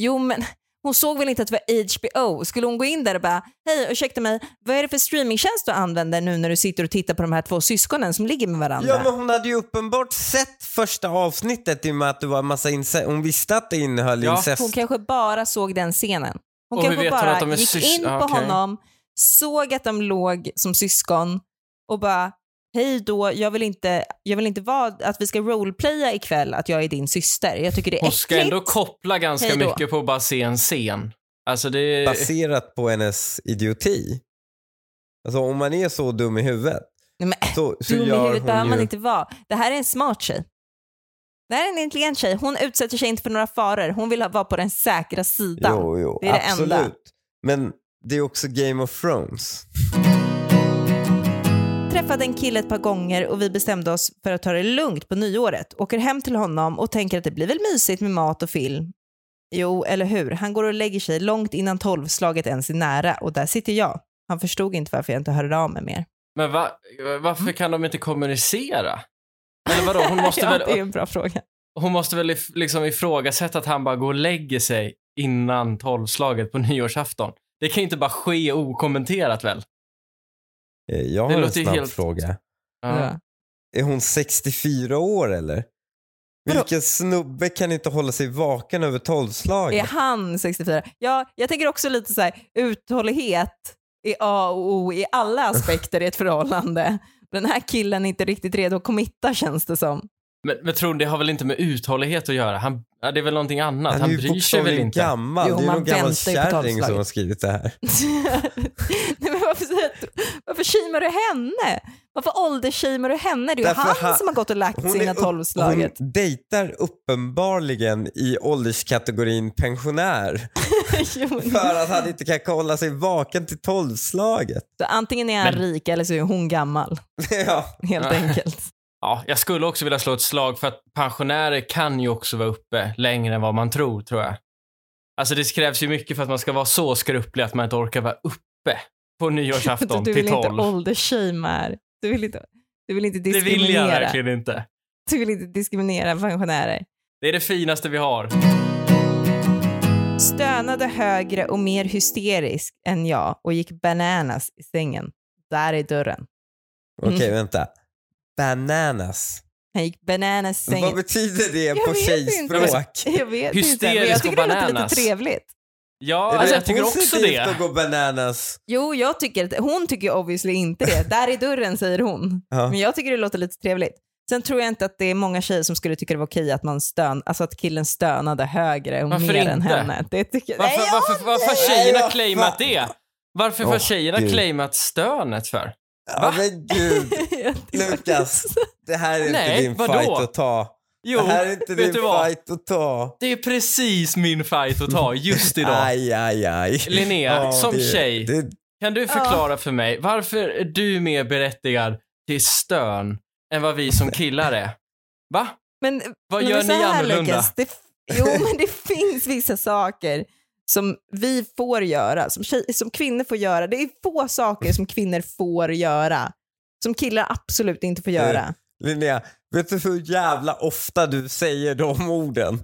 Speaker 1: Jo, men <laughs> hon såg väl inte att det var HBO? Skulle hon gå in där och bara, hej, ursäkta mig, vad är det för streamingtjänst du använder nu när du sitter och tittar på de här två syskonen som ligger med varandra?
Speaker 3: Ja men hon hade ju uppenbart sett första avsnittet i och med att det var en massa incest. Hon visste att det innehöll
Speaker 2: Ja.
Speaker 3: incest.
Speaker 1: Hon kanske bara såg den scenen. Hon
Speaker 2: Och hur
Speaker 1: kanske
Speaker 2: vet hon
Speaker 1: bara
Speaker 2: att de är
Speaker 1: gick
Speaker 2: sys-
Speaker 1: in
Speaker 2: Ah,
Speaker 1: på
Speaker 2: okej.
Speaker 1: honom, såg att de låg som syskon och bara Hej då, jag vill inte, jag vill inte vara, att vi ska roleplaya ikväll att jag är din syster. Jag tycker det är
Speaker 2: Hon
Speaker 1: äckligt.
Speaker 2: ska ändå koppla ganska
Speaker 1: Hej då.
Speaker 2: mycket på att bara se en scen. Alltså det...
Speaker 3: Baserat på hennes idioti. Alltså om man är så dum i huvudet
Speaker 1: Nej, men,
Speaker 3: så, så
Speaker 1: dum i
Speaker 3: gör
Speaker 1: huvudet
Speaker 3: hon
Speaker 1: behöver
Speaker 3: ju...
Speaker 1: man inte vara. Det här är en smart tjej. Det här är en intelligent tjej. Hon utsätter sig inte för några faror. Hon vill ha- vara på den säkra sidan.
Speaker 3: Jo, jo,
Speaker 1: Det är det
Speaker 3: absolut.
Speaker 1: enda.
Speaker 3: Men det är också Game of Thrones.
Speaker 1: träffade en kille ett par gånger och vi bestämde oss för att ta det lugnt på nyåret. Åker hem till honom och tänker att det blir väl mysigt med mat och film. Jo, eller hur? Han går och lägger sig långt innan tolvslaget ens är nära och där sitter jag. Han förstod inte varför jag inte hörde av mig mer.
Speaker 2: Men va, varför kan de inte kommunicera? Eller vadå, hon måste
Speaker 1: ja,
Speaker 2: väl,
Speaker 1: det är en bra fråga.
Speaker 2: hon måste väl if- liksom ifrågasätta att han bara går och lägger sig innan tolvslaget på <laughs> nyårsafton. Det kan ju inte bara ske okommenterat väl?
Speaker 3: Eh, Jag
Speaker 2: Det
Speaker 3: har en
Speaker 2: låter ju
Speaker 3: snabb
Speaker 2: helt-
Speaker 3: fråga.
Speaker 2: Ja.
Speaker 1: Ja.
Speaker 3: Är hon 64 år eller?
Speaker 1: Vadå?
Speaker 3: Vilken snubbe kan inte hålla sig vaken över
Speaker 1: Är
Speaker 3: tolvslaget?
Speaker 1: han 64? Ja, jag tänker också lite så här, uthållighet är A och O i alla aspekter i ett förhållande. Den här killen är inte riktigt redo att committa känns det som.
Speaker 2: Men, men tror ni, det har väl inte med uthållighet att göra? Han, ja, det är väl någonting annat? Han,
Speaker 3: är ju
Speaker 2: bryr sig väl
Speaker 3: bokstavligen
Speaker 2: inte?
Speaker 3: gammal.
Speaker 1: Jo,
Speaker 3: det är
Speaker 1: man
Speaker 3: någon gammal
Speaker 1: väntar ju på
Speaker 3: kärring som
Speaker 1: tolvslaget.
Speaker 3: har skrivit det här.
Speaker 1: <laughs> Nej, men varför, säger du- varför shamear du henne? Varför åldersshamear du henne? Det är ju
Speaker 3: Därför
Speaker 1: han,
Speaker 3: han-
Speaker 1: som har gått och lagt sig
Speaker 3: är
Speaker 1: innan
Speaker 3: upp-
Speaker 1: tolvslaget.
Speaker 3: hon dejtar uppenbarligen i ålderskategorin pensionär
Speaker 1: <laughs> Jo, men-
Speaker 3: <laughs> för att han inte kan hålla sig vaken till tolvslaget.
Speaker 1: Så antingen är han
Speaker 2: Men-
Speaker 1: rik eller så är hon gammal,
Speaker 3: ja.
Speaker 1: helt
Speaker 2: Ja. <laughs>
Speaker 1: enkelt.
Speaker 2: Ja, jag skulle också vilja slå ett slag för att pensionärer kan ju också vara uppe längre än vad man tror, tror jag. Alltså det krävs ju mycket för att man ska vara så skruplig att man inte orkar vara uppe på
Speaker 1: du
Speaker 2: nyårsafton till
Speaker 1: vill inte
Speaker 2: 12.
Speaker 1: åldersshamea här. Du vill inte, du vill inte
Speaker 2: Det
Speaker 1: diskriminera.
Speaker 2: vill jag verkligen inte.
Speaker 1: Du vill inte diskriminera pensionärer.
Speaker 2: Det är det finaste vi har.
Speaker 1: Stönade högre och mer hysterisk än jag och gick bananas i sängen. Där är dörren.
Speaker 3: Okej,
Speaker 1: Mm.
Speaker 3: vänta. Bananas.
Speaker 1: Han gick bananas i
Speaker 3: Vad
Speaker 1: sängen.
Speaker 3: betyder det
Speaker 1: Jag
Speaker 3: på
Speaker 1: vet
Speaker 3: tjejspråk?
Speaker 1: Jag vet inte, men jag
Speaker 2: Hysterisk och
Speaker 1: tycker det låter lite
Speaker 2: bananas.
Speaker 1: trevligt.
Speaker 2: Ja,
Speaker 3: Är det
Speaker 2: alltså, jag tycker också
Speaker 3: positivt
Speaker 2: det.
Speaker 3: att gå bananas?
Speaker 1: Jo, jag tycker att, hon tycker obviously inte det. Där i dörren säger hon.
Speaker 3: Ja.
Speaker 1: Men jag tycker det låter lite trevligt. Sen tror jag inte att det är många tjejer som skulle tycka det var okej att, man stön, alltså att killen stönade högre och
Speaker 2: Varför
Speaker 1: mer än
Speaker 2: inte?
Speaker 1: henne. Det tycker,
Speaker 2: Varför,
Speaker 1: Nej, jag-
Speaker 2: varför, varför har
Speaker 3: Nej,
Speaker 2: tjejerna
Speaker 3: vad fan.
Speaker 2: claimat det? Varför har
Speaker 3: Åh,
Speaker 2: tjejerna
Speaker 3: Gud.
Speaker 2: claimat stönet för?
Speaker 3: Ja,
Speaker 2: Va?
Speaker 3: men gud,
Speaker 1: Jag-
Speaker 3: Lukas. det här är
Speaker 2: Nej,
Speaker 3: inte din
Speaker 2: vadå?
Speaker 3: fight att ta.
Speaker 2: Jo,
Speaker 3: det här är inte din
Speaker 2: vet du vad?
Speaker 3: fight att ta.
Speaker 2: Det är precis min fight att ta just
Speaker 3: <laughs>
Speaker 2: idag.
Speaker 3: Aj, aj, aj.
Speaker 2: Linnea,
Speaker 3: Ja,
Speaker 2: som
Speaker 3: det-
Speaker 2: tjej,
Speaker 3: Det,
Speaker 2: kan du
Speaker 3: Ah.
Speaker 2: förklara för mig varför är du mer berättigad till stön än vad vi som killar är? Va?
Speaker 1: Men,
Speaker 2: Vad
Speaker 1: men
Speaker 2: gör
Speaker 1: det är så
Speaker 2: ni
Speaker 1: här,
Speaker 2: annorlunda?
Speaker 1: Lukas, det, f-
Speaker 2: <laughs>
Speaker 1: jo, men det finns vissa saker som vi får göra, som, tjej, som kvinnor får göra. Det är få saker som kvinnor får göra, som killar absolut inte får göra.
Speaker 3: Linnea, vet du hur jävla ofta du säger de orden?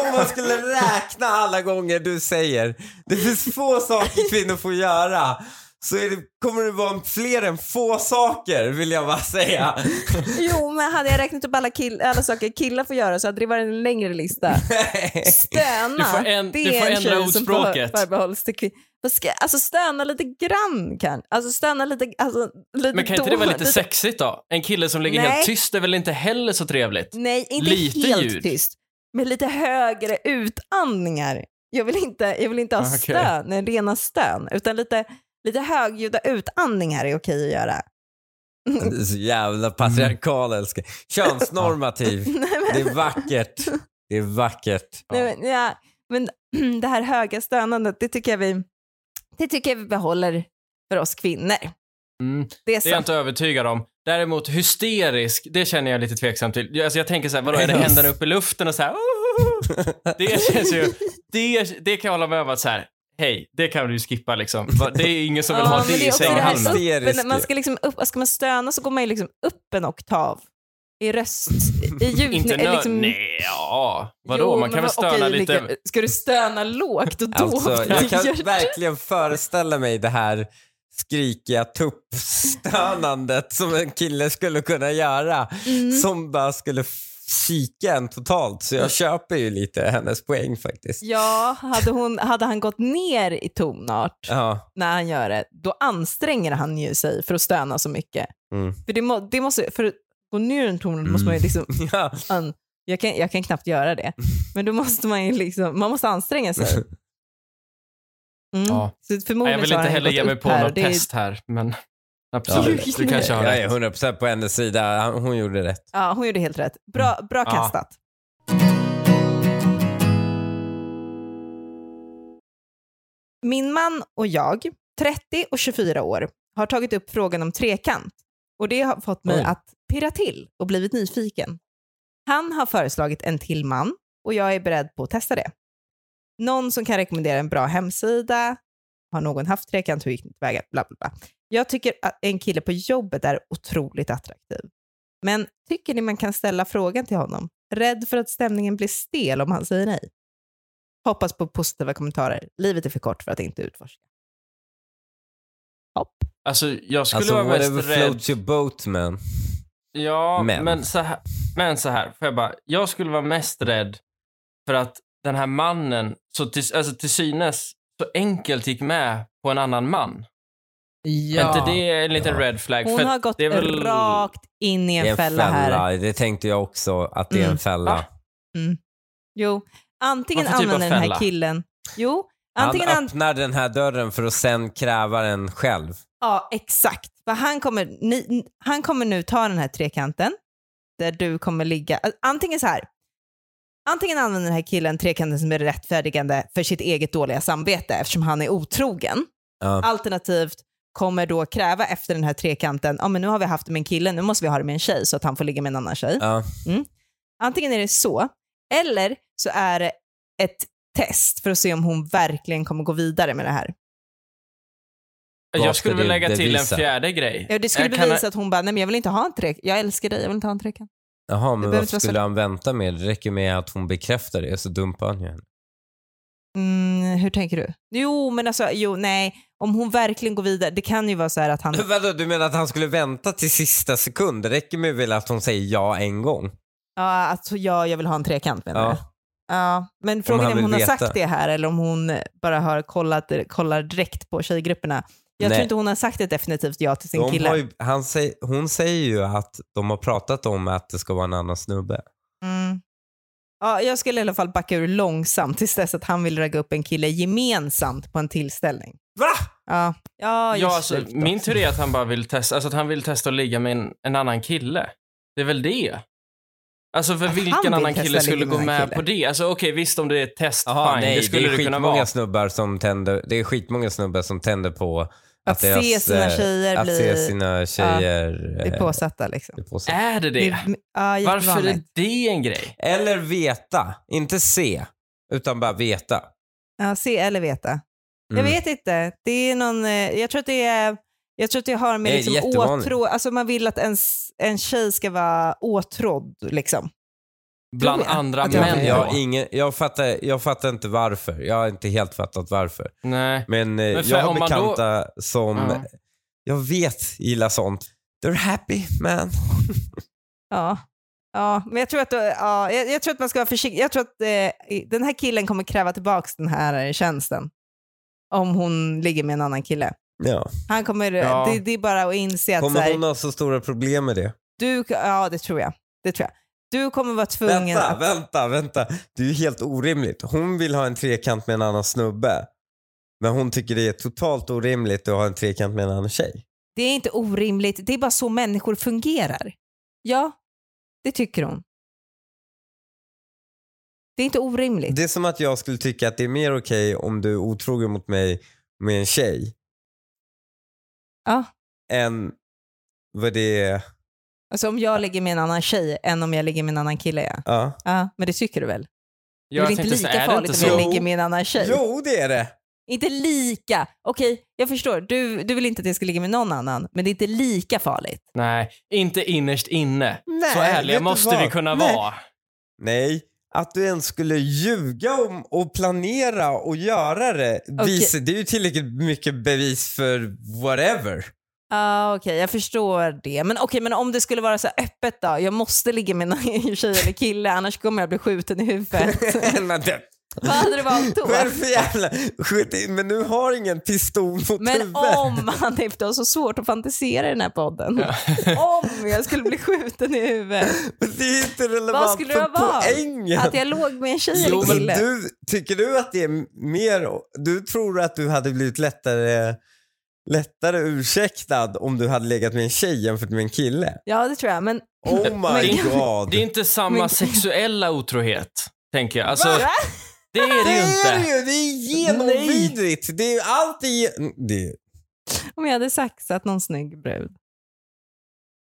Speaker 3: Om man skulle räkna alla gånger du säger det finns få saker kvinnor får göra så är det, kommer det vara fler än få saker vill jag bara säga.
Speaker 1: Jo, men hade jag räknat upp alla, kill- alla saker killar får göra så hade det varit en längre
Speaker 2: <laughs>
Speaker 1: lista. Stöna,
Speaker 2: Du får en-
Speaker 1: det
Speaker 2: du får
Speaker 1: är en
Speaker 2: ändra
Speaker 1: tjej som
Speaker 2: ordspråket.
Speaker 1: för- förbehålls till kvinnor. Alltså stöna lite grann kan. Alltså stöna lite, alltså, lite
Speaker 2: Men kan inte det vara
Speaker 1: dåligt.
Speaker 2: lite sexigt då? En kille som ligger
Speaker 1: Nej.
Speaker 2: helt tyst är väl inte heller så trevligt?
Speaker 1: Nej, inte
Speaker 2: Lite
Speaker 1: helt
Speaker 2: ljud.
Speaker 1: tyst. Men lite högre utandningar. Jag vill inte, jag vill inte ha
Speaker 2: Ah, okej.
Speaker 1: stön, rena stön, utan lite, lite högljudda utandningar är okej att
Speaker 2: <laughs>
Speaker 1: göra.
Speaker 3: Det är så jävla patriarkal älskar. Könsnormativ.
Speaker 1: Nej, men,
Speaker 3: Det är vackert. Det är vackert.
Speaker 1: nej, men, ja, men <clears throat> det här höga stönandet, det tycker jag vi, det tycker jag vi behåller för oss kvinnor.
Speaker 2: Mm,
Speaker 1: Det är,
Speaker 2: det är jag
Speaker 1: sant.
Speaker 2: inte övertygad om. Däremot hysterisk, det känner jag lite tveksam till. Jag- Alltså jag tänker så här, vadå, är det händerna upp i luften och så här? Det känns ju, det, det kan jag hålla med om att så här, hej, det kan du ju skippa liksom. Va- Det är ingen som vill
Speaker 1: Ja,
Speaker 2: ha
Speaker 1: men
Speaker 2: det
Speaker 1: det är
Speaker 2: i
Speaker 1: också det här
Speaker 2: sänghalmen.
Speaker 1: som-
Speaker 3: Hysterisk.
Speaker 1: Men man ska, liksom upp, ska man stöna så går man ju liksom upp en oktav i röst, i ljud.
Speaker 2: Inte nö...
Speaker 1: liksom-
Speaker 2: Nej, ja. Vadå,
Speaker 1: Jo,
Speaker 2: man kan
Speaker 1: men
Speaker 2: väl
Speaker 1: vad-
Speaker 2: stöna
Speaker 1: okej,
Speaker 2: lite.
Speaker 1: lika- Ska du stöna lågt och dovt?
Speaker 3: Alltså, jag
Speaker 1: Det
Speaker 3: kan
Speaker 1: <laughs> gör-
Speaker 3: verkligen föreställa mig det här skrikiga tuppstönandet som en kille skulle kunna göra
Speaker 1: Mm.
Speaker 3: som bara skulle f- psyka en totalt. Så jag köper ju lite hennes poäng faktiskt.
Speaker 1: Ja, hade, hon, hade han gått ner i tonart
Speaker 3: Ja,
Speaker 1: när han gör det, då anstränger han ju sig för att stöna så mycket.
Speaker 3: Mm.
Speaker 1: För, det må, det måste, för att gå ner i tonart måste man ju
Speaker 2: Mm.
Speaker 1: liksom...
Speaker 3: ja.
Speaker 1: an- jag, kan, jag kan knappt göra det. Men då måste man ju liksom... Man måste anstränga sig.
Speaker 2: <laughs>
Speaker 1: Mm.
Speaker 2: Ja.
Speaker 1: Så
Speaker 2: Nej,
Speaker 1: förmodligen
Speaker 2: jag vill
Speaker 1: så har
Speaker 2: inte
Speaker 1: han
Speaker 2: heller
Speaker 1: gått
Speaker 2: ge mig
Speaker 1: upp
Speaker 2: på
Speaker 1: här och
Speaker 2: något
Speaker 1: det är-
Speaker 2: test här, men
Speaker 1: Ja,
Speaker 2: absolut.
Speaker 1: det-
Speaker 2: du kanske har
Speaker 3: Jag
Speaker 2: rätt.
Speaker 3: är 100% på hennes sida. Han- Hon gjorde rätt. Mm.
Speaker 1: Ja, hon gjorde helt rätt. Bra, bra
Speaker 2: Ja.
Speaker 1: kastat. Min man och jag, 30 och 24 år, har tagit upp frågan om trekant och det har fått mig
Speaker 3: Oj.
Speaker 1: att pirra till och blivit nyfiken. Han har föreslagit en till man och jag är beredd på att testa det. Någon som kan rekommendera en bra hemsida. Har någon haft trekant? Hur gick ni tillväga? Bla, bla, bla. Jag tycker att en kille på jobbet är otroligt attraktiv. Men tycker ni man kan ställa frågan till honom? Rädd för att stämningen blir stel om han säger nej. Hoppas på positiva kommentarer. Livet är för kort för att inte utforska. Hopp.
Speaker 2: Alltså, jag skulle
Speaker 3: Alltså,
Speaker 2: vara
Speaker 3: whatever
Speaker 2: mest rädd...
Speaker 3: floats your boat man.
Speaker 2: Ja,
Speaker 3: Men.
Speaker 2: men, så här, men så här, får jag bara, jag skulle vara mest rädd för att den här mannen, så till, alltså till synes, så enkelt gick med på en annan man. Är inte det en liten
Speaker 3: Ja.
Speaker 2: red flag?
Speaker 1: Hon
Speaker 2: För
Speaker 1: har
Speaker 2: att
Speaker 1: gått
Speaker 2: det är väl- Alltså,
Speaker 1: rakt in i en, fälla, här.
Speaker 3: Det tänkte jag också, att det är
Speaker 1: Mm.
Speaker 3: en fälla.
Speaker 2: Va?
Speaker 1: Jo, antingen
Speaker 2: Vad för typ av
Speaker 1: använder den här
Speaker 2: fälla?
Speaker 1: killen... Jo,
Speaker 3: Han
Speaker 1: antingen... An...
Speaker 3: öppnar den här dörren för att sen kräva den själv.
Speaker 1: Ja, exakt. För han, kommer, ni, han kommer nu ta den här trekanten där du kommer ligga. Antingen så här. Antingen använder den här killen trekanten som är rättfärdigande för sitt eget dåliga samvete eftersom han är otrogen.
Speaker 3: Ja.
Speaker 1: Alternativt kommer då kräva efter den här trekanten, ja men nu har vi haft det med en kille, nu måste vi ha det med en tjej så att han får ligga med en annan tjej.
Speaker 3: Ja.
Speaker 1: Antingen är det så, eller så är det ett test för att se om hon verkligen kommer gå vidare med det här.
Speaker 2: Jag
Speaker 3: Vad
Speaker 2: skulle
Speaker 3: ska
Speaker 2: väl
Speaker 3: du
Speaker 2: lägga till
Speaker 3: bevisa?
Speaker 2: en fjärde grej.
Speaker 1: Ja, det skulle
Speaker 2: jag kan-
Speaker 1: bevisa att hon bara, nej men jag vill inte ha en trekant, jag älskar dig, jag vill inte ha en trekant.
Speaker 3: Jaha,
Speaker 1: Det
Speaker 3: men
Speaker 1: behöver
Speaker 3: vad
Speaker 1: inte vara så-
Speaker 3: skulle han vänta med? Det räcker med att hon bekräftar det så dumpar han ju henne.
Speaker 1: Mm, hur tänker du? Jo, men alltså, jo, nej, om hon verkligen går vidare, det kan ju vara så här att han...
Speaker 3: <laughs> Vadå, du menar att han skulle vänta till sista sekund? Det räcker med väl att hon säger ja en gång?
Speaker 1: Ja, att ja, jag vill ha en trekant menar
Speaker 3: Ja.
Speaker 1: jag. Ja, men frågan är
Speaker 3: han
Speaker 1: om
Speaker 3: vill
Speaker 1: hon har
Speaker 3: veta.
Speaker 1: sagt det här eller om hon bara har kollat, kollar direkt på tjejgrupperna. Jag tror
Speaker 3: Nej.
Speaker 1: inte hon har sagt ett definitivt ja till sin
Speaker 3: De
Speaker 1: kille.
Speaker 3: har ju, han säger, hon säger ju att de har pratat om att det ska vara en annan snubbe.
Speaker 1: Mm. Ja, jag skulle i alla fall backa ur långsamt tills dess att han vill ragga upp en kille gemensamt på en tillställning.
Speaker 3: Va?
Speaker 1: Ja, ja,
Speaker 2: Ja,
Speaker 1: just
Speaker 2: alltså,
Speaker 1: det.
Speaker 2: min teori är att han bara vill testa, alltså att han vill testa att ligga med en, en annan kille. Det är väl det? Alltså för
Speaker 1: Att han vill
Speaker 2: vilken annan
Speaker 1: testa
Speaker 2: kille
Speaker 1: att ligga
Speaker 2: skulle
Speaker 1: med
Speaker 2: gå
Speaker 1: en
Speaker 2: med
Speaker 1: kille.
Speaker 2: på det? Alltså okej, visst om det är ett test, fine. det skulle det, kunna
Speaker 3: skitmånga
Speaker 2: vara.
Speaker 3: snubbar som tänder, det är skitmånga snubbar som tänder på att,
Speaker 1: Att se
Speaker 3: deras,
Speaker 1: sina
Speaker 3: eh,
Speaker 1: tjejer
Speaker 3: att
Speaker 1: bli-
Speaker 3: se sina tjejer
Speaker 1: Det är
Speaker 3: eh,
Speaker 1: påsatta liksom.
Speaker 3: bli påsatta.
Speaker 2: Är det
Speaker 1: Det
Speaker 2: det?
Speaker 1: är- Ja,
Speaker 2: Varför är
Speaker 1: jättevanligt.
Speaker 2: det en grej?
Speaker 3: Eller veta, inte se, utan bara veta.
Speaker 1: Ja, se eller veta.
Speaker 3: Mm.
Speaker 1: Jag vet inte. Det är någon, eh, jag tror att det är jag tror att det har med
Speaker 3: Det är
Speaker 1: liksom
Speaker 3: jättevanligt.
Speaker 1: åtrå, alltså man vill att ens, en tjej ska vara åtrådd liksom.
Speaker 2: Bland
Speaker 1: jag.
Speaker 2: andra
Speaker 1: Att jag-
Speaker 2: män
Speaker 3: Men
Speaker 1: Men
Speaker 3: jag,
Speaker 2: då?
Speaker 3: har ingen, jag, fattar, jag fattar inte varför. Jag har inte helt fattat varför.
Speaker 2: Nej.
Speaker 3: Men, eh,
Speaker 2: för
Speaker 3: jag har
Speaker 2: om man då-
Speaker 3: bekanta som
Speaker 2: Ja.
Speaker 3: jag vet gillar sånt. They're happy man.
Speaker 1: Ja. Ja, men jag tror, att, då- ja, jag, jag tror att man ska vara försiktig. Jag tror att eh, den här killen kommer kräva tillbaka den här eh, tjänsten. Om hon ligger med en annan kille.
Speaker 3: Ja.
Speaker 1: Han kommer, eh,
Speaker 2: Ja.
Speaker 1: det, det är bara att inse att så
Speaker 3: Kommer
Speaker 1: här,
Speaker 3: hon ha så stora problem med det?
Speaker 1: du, ja det tror jag. Det tror jag. Du kommer vara tvungen
Speaker 3: Vänta,
Speaker 1: att...
Speaker 3: vänta, vänta. Det är ju helt orimligt. Hon vill ha en trekant med en annan snubbe. Men hon tycker det är totalt orimligt att ha en trekant med en annan tjej.
Speaker 1: Det är inte orimligt, det är bara så människor fungerar. Ja, det tycker hon. Det är inte orimligt.
Speaker 3: Det är som att jag skulle tycka att det är mer okej om du är otrogen mot mig med en tjej
Speaker 1: Ja.
Speaker 3: än vad det är.
Speaker 1: Alltså om jag ligger med en annan tjej än om jag ligger med en annan kille. Ja,
Speaker 3: Ja.
Speaker 1: ja men det tycker du väl?
Speaker 2: Jag
Speaker 1: det är väl
Speaker 2: tänkte
Speaker 1: inte
Speaker 2: så,
Speaker 1: lika
Speaker 2: är det
Speaker 1: farligt
Speaker 2: inte
Speaker 1: om
Speaker 2: så?
Speaker 1: jag ligger med en annan tjej?
Speaker 3: Jo, det är det.
Speaker 1: Inte lika. Okej, jag förstår. Du, du vill inte att jag ska ligga med någon annan, men det är inte lika farligt.
Speaker 2: Nej, inte innerst inne.
Speaker 3: Nej,
Speaker 2: så ärliga
Speaker 3: vet du
Speaker 2: måste
Speaker 3: vad?
Speaker 2: vi kunna
Speaker 3: Nej.
Speaker 2: vara.
Speaker 3: Nej, att du ens skulle ljuga om och planera och göra det, vis, det är ju tillräckligt mycket bevis för whatever. <laughs>
Speaker 1: Ja, okej, jag förstår det. Men okej, men om det skulle vara så här öppet då? Jag måste ligga med en <laughs> tjej eller kille, annars kommer jag bli skjuten i
Speaker 2: <laughs>
Speaker 1: huvudet.
Speaker 3: Men
Speaker 1: <laughs>
Speaker 3: det-
Speaker 1: Vad hade du valt då?
Speaker 3: Vad är det för jävla... skjut in- Men nu har ingen pistol mot
Speaker 1: Men
Speaker 3: huvudet.
Speaker 1: om Hanif, du har så svårt att fantisera i den här podden. <laughs> Om jag skulle bli skjuten i huvudet.
Speaker 3: Men Det är inte
Speaker 1: Vad
Speaker 3: relevant
Speaker 1: skulle
Speaker 3: för
Speaker 1: det vara?
Speaker 3: poängen.
Speaker 1: Att jag låg med en tjej
Speaker 2: Jo,
Speaker 1: eller
Speaker 3: men
Speaker 1: kille.
Speaker 3: du, tycker du att det är mer... Du tror att du hade blivit lättare, lättare ursäktad om du hade legat med en tjej jämfört med en kille?
Speaker 1: Ja, det tror jag. <laughs> Men
Speaker 3: Oh my
Speaker 2: Men-
Speaker 3: god.
Speaker 2: Det är inte samma
Speaker 1: Men-
Speaker 2: sexuella otrohet, tänker jag. Alltså,
Speaker 1: Va?
Speaker 2: det är
Speaker 3: Det
Speaker 2: det ju
Speaker 3: är det
Speaker 2: inte.
Speaker 3: ju! Det är genomvidrigt! Det är ju alltid... Det,
Speaker 1: om jag hade saxat någon snygg brud.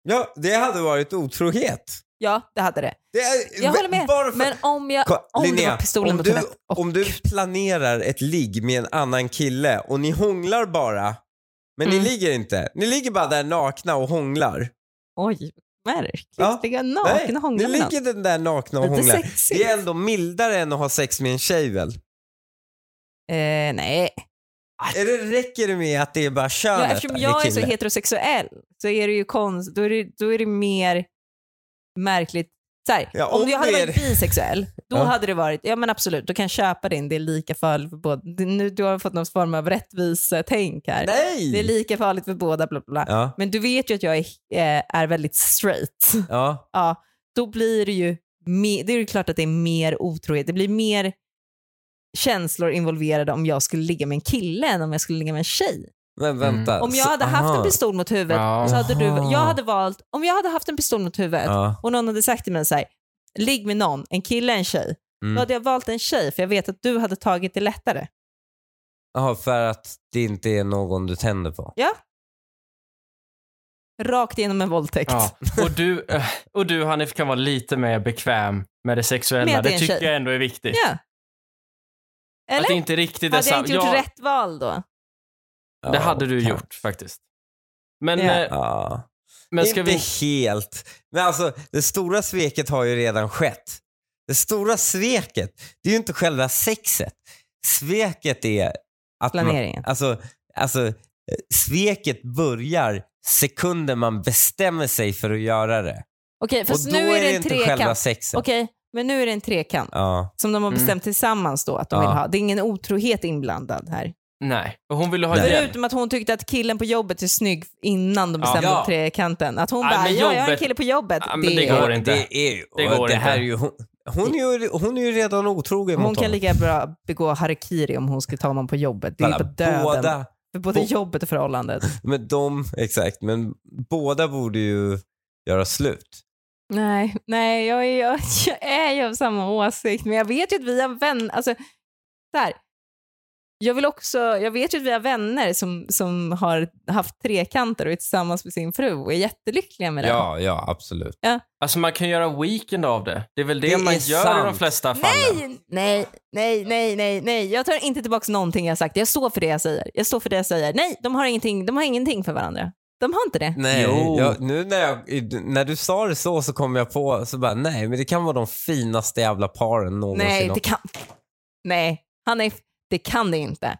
Speaker 3: ja, det hade varit otrohet.
Speaker 1: Ja, det hade det.
Speaker 3: Det är,
Speaker 1: Jag håller med.
Speaker 3: Bara för,
Speaker 1: Men om jag...
Speaker 3: Ko-
Speaker 1: Om det var
Speaker 3: Linnea,
Speaker 1: pistolen
Speaker 3: om
Speaker 1: mot
Speaker 3: du,
Speaker 1: huvudet. Och-
Speaker 3: om du planerar ett ligg med en annan kille och ni hånglar bara, men
Speaker 1: Mm.
Speaker 3: ni ligger inte. Ni ligger bara där nakna och hånglar.
Speaker 1: Oj, märkligt.
Speaker 3: Ja,
Speaker 1: Ligga naken och
Speaker 3: ni
Speaker 1: hångla med någon.
Speaker 3: ligger den där nakna och
Speaker 1: Lite
Speaker 3: hånglar.
Speaker 1: sexigt.
Speaker 3: Det är ändå mildare än att ha sex med en tjej väl?
Speaker 1: Eh, nej.
Speaker 3: Eller räcker det med att det är bara
Speaker 1: Ja,
Speaker 3: könet?
Speaker 1: eftersom
Speaker 3: där,
Speaker 1: jag är
Speaker 3: kille?
Speaker 1: så heterosexuell så är det ju konst, då är det, då är det mer märkligt. Så här,
Speaker 3: Ja,
Speaker 1: om,
Speaker 3: om
Speaker 1: jag hade
Speaker 3: det är-
Speaker 1: varit bisexuell, då
Speaker 3: Ja.
Speaker 1: hade det varit, ja men absolut, då kan jag köpa din, det är lika farligt för båda. Det- Nu, du har fått någon form av rättvisetänk här.
Speaker 3: Nej!
Speaker 1: Det är lika farligt för båda, bla bla bla.
Speaker 3: ja,
Speaker 1: Men du vet ju att jag är, eh, är väldigt straight.
Speaker 3: ja.
Speaker 1: Ja, då blir det ju, me- det är ju klart att det är mer otrohet. Det blir mer känslor involverade om jag skulle ligga med en kille än om jag skulle ligga med en tjej.
Speaker 3: Men
Speaker 2: Mm.
Speaker 3: vänta.
Speaker 1: Om jag
Speaker 3: så-
Speaker 1: hade haft en
Speaker 3: aha.
Speaker 1: pistol mot huvudet
Speaker 2: Ja.
Speaker 1: så hade du,
Speaker 3: Aha.
Speaker 1: jag hade valt, om jag hade haft en pistol mot huvudet
Speaker 3: Ja.
Speaker 1: och någon hade sagt till mig så här, ligg med någon, en kille, en tjej. Då
Speaker 3: Mm.
Speaker 1: hade jag valt en tjej för jag vet att du hade tagit det lättare.
Speaker 3: Aha, för att det inte är någon du tänder på.
Speaker 1: Rakt genom en våldtäkt.
Speaker 2: Ja. Och, du, eh, och du, Hanif, kan vara lite mer bekväm med det sexuella.
Speaker 1: Med att det är
Speaker 2: det
Speaker 1: en
Speaker 2: tycker
Speaker 1: tjej.
Speaker 2: jag ändå är viktigt.
Speaker 1: Ja.
Speaker 2: Att det
Speaker 1: Eller?
Speaker 2: inte riktigt är
Speaker 1: Hade jag
Speaker 2: sam-
Speaker 1: inte gjort
Speaker 2: Ja,
Speaker 1: rätt val då?
Speaker 3: Ja,
Speaker 2: Det hade du
Speaker 3: kanske.
Speaker 2: gjort faktiskt. Men,
Speaker 1: Ja.
Speaker 2: eh,
Speaker 3: Ja.
Speaker 2: men ska
Speaker 3: inte
Speaker 2: vi...
Speaker 3: helt. Men alltså, det stora sveket har ju redan skett. Det stora sveket, det är ju inte själva sexet. Sveket är att man,
Speaker 1: Planeringen.
Speaker 3: alltså, alltså, eh, sveket börjar sekunden man bestämmer sig för att göra det.
Speaker 1: Okej, fast
Speaker 3: Och då
Speaker 1: nu är det en
Speaker 3: inte själva
Speaker 1: trekant.
Speaker 3: sexet.
Speaker 1: Okej, men nu är det en trekant
Speaker 3: Ja.
Speaker 1: som de har
Speaker 2: Mm.
Speaker 1: bestämt tillsammans då att de
Speaker 3: Ja.
Speaker 1: vill ha. Det är ingen otrohet inblandad här.
Speaker 2: Nej. Och Hon ville ha
Speaker 3: Nej.
Speaker 2: hjälp.
Speaker 1: Förutom att hon tyckte att killen på jobbet är snygg innan de
Speaker 2: Ja.
Speaker 1: bestämde
Speaker 2: Ja.
Speaker 1: ja. trekanten. Att hon
Speaker 2: Nej,
Speaker 1: bara,
Speaker 2: men
Speaker 1: ja jag har en
Speaker 2: jobbet-
Speaker 1: kille på jobbet.
Speaker 2: Ja, men
Speaker 1: det
Speaker 2: det
Speaker 1: är-
Speaker 2: går inte.
Speaker 3: Det är ju,
Speaker 2: Det går
Speaker 3: det här
Speaker 2: inte.
Speaker 3: är ju hon, hon, är ju, hon är ju redan otrogen
Speaker 1: Hon
Speaker 3: mot
Speaker 1: kan
Speaker 3: honom.
Speaker 1: lika bra begå harikiri om hon ska ta någon på jobbet. Det är ju på
Speaker 3: Kolla,
Speaker 1: döden.
Speaker 3: Båda,
Speaker 1: För både
Speaker 3: Bo-
Speaker 1: jobbet och förhållandet.
Speaker 3: men de, exakt, men båda borde ju göra slut.
Speaker 1: Nej, nej jag, är, jag, <laughs> jag är ju av samma åsikt, men jag vet ju att vi har vänner. Alltså, så här. Jag, vill också, jag vet ju att vi har vänner som, som har haft trekanter och är tillsammans med sin fru och är jättelyckliga med det.
Speaker 3: Ja, ja, absolut.
Speaker 2: Alltså man kan göra en weekend av det. Det är väl det,
Speaker 3: Det
Speaker 2: man
Speaker 3: är
Speaker 2: gör i de
Speaker 3: sant.
Speaker 2: flesta fallen.
Speaker 1: Nej, nej, nej, nej, nej, nej. Jag tar inte tillbaka någonting jag har sagt. Jag står för det jag säger. Jag står för det jag säger. Nej, de har ingenting, de har ingenting för varandra. De har inte det.
Speaker 3: Nej,
Speaker 2: Jo.
Speaker 3: jag, nu när, jag, när du sa det så så kom jag på, så bara nej, men det kan vara de finaste jävla paren någonsin.
Speaker 1: Nej, det kan... Nej, han är... Det kan det inte.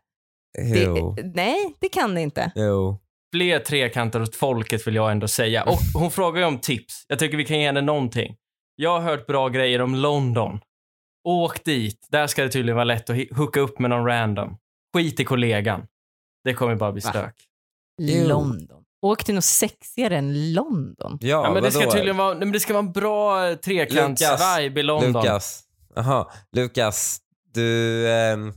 Speaker 1: Det,
Speaker 3: Jo,
Speaker 1: nej, det kan det inte.
Speaker 3: jo.
Speaker 2: Fler trekanter åt folket vill jag ändå säga. Och hon frågar ju om tips. Jag tycker vi kan ge henne någonting. Jag har hört bra grejer om London. Åk dit. Där ska det tydligen vara lätt att hi- hooka upp med någon random. Skit i kollegan. Det kommer bara bli
Speaker 1: Va?
Speaker 2: stök.
Speaker 3: Jo.
Speaker 1: London. Åk till något sexigare än London.
Speaker 3: Ja,
Speaker 2: Ja, men det ska
Speaker 3: vadå?
Speaker 2: tydligen vara, nej, men det ska vara en bra eh, trekants-vibe i London.
Speaker 3: Lukas, aha, Lukas, du, ehm,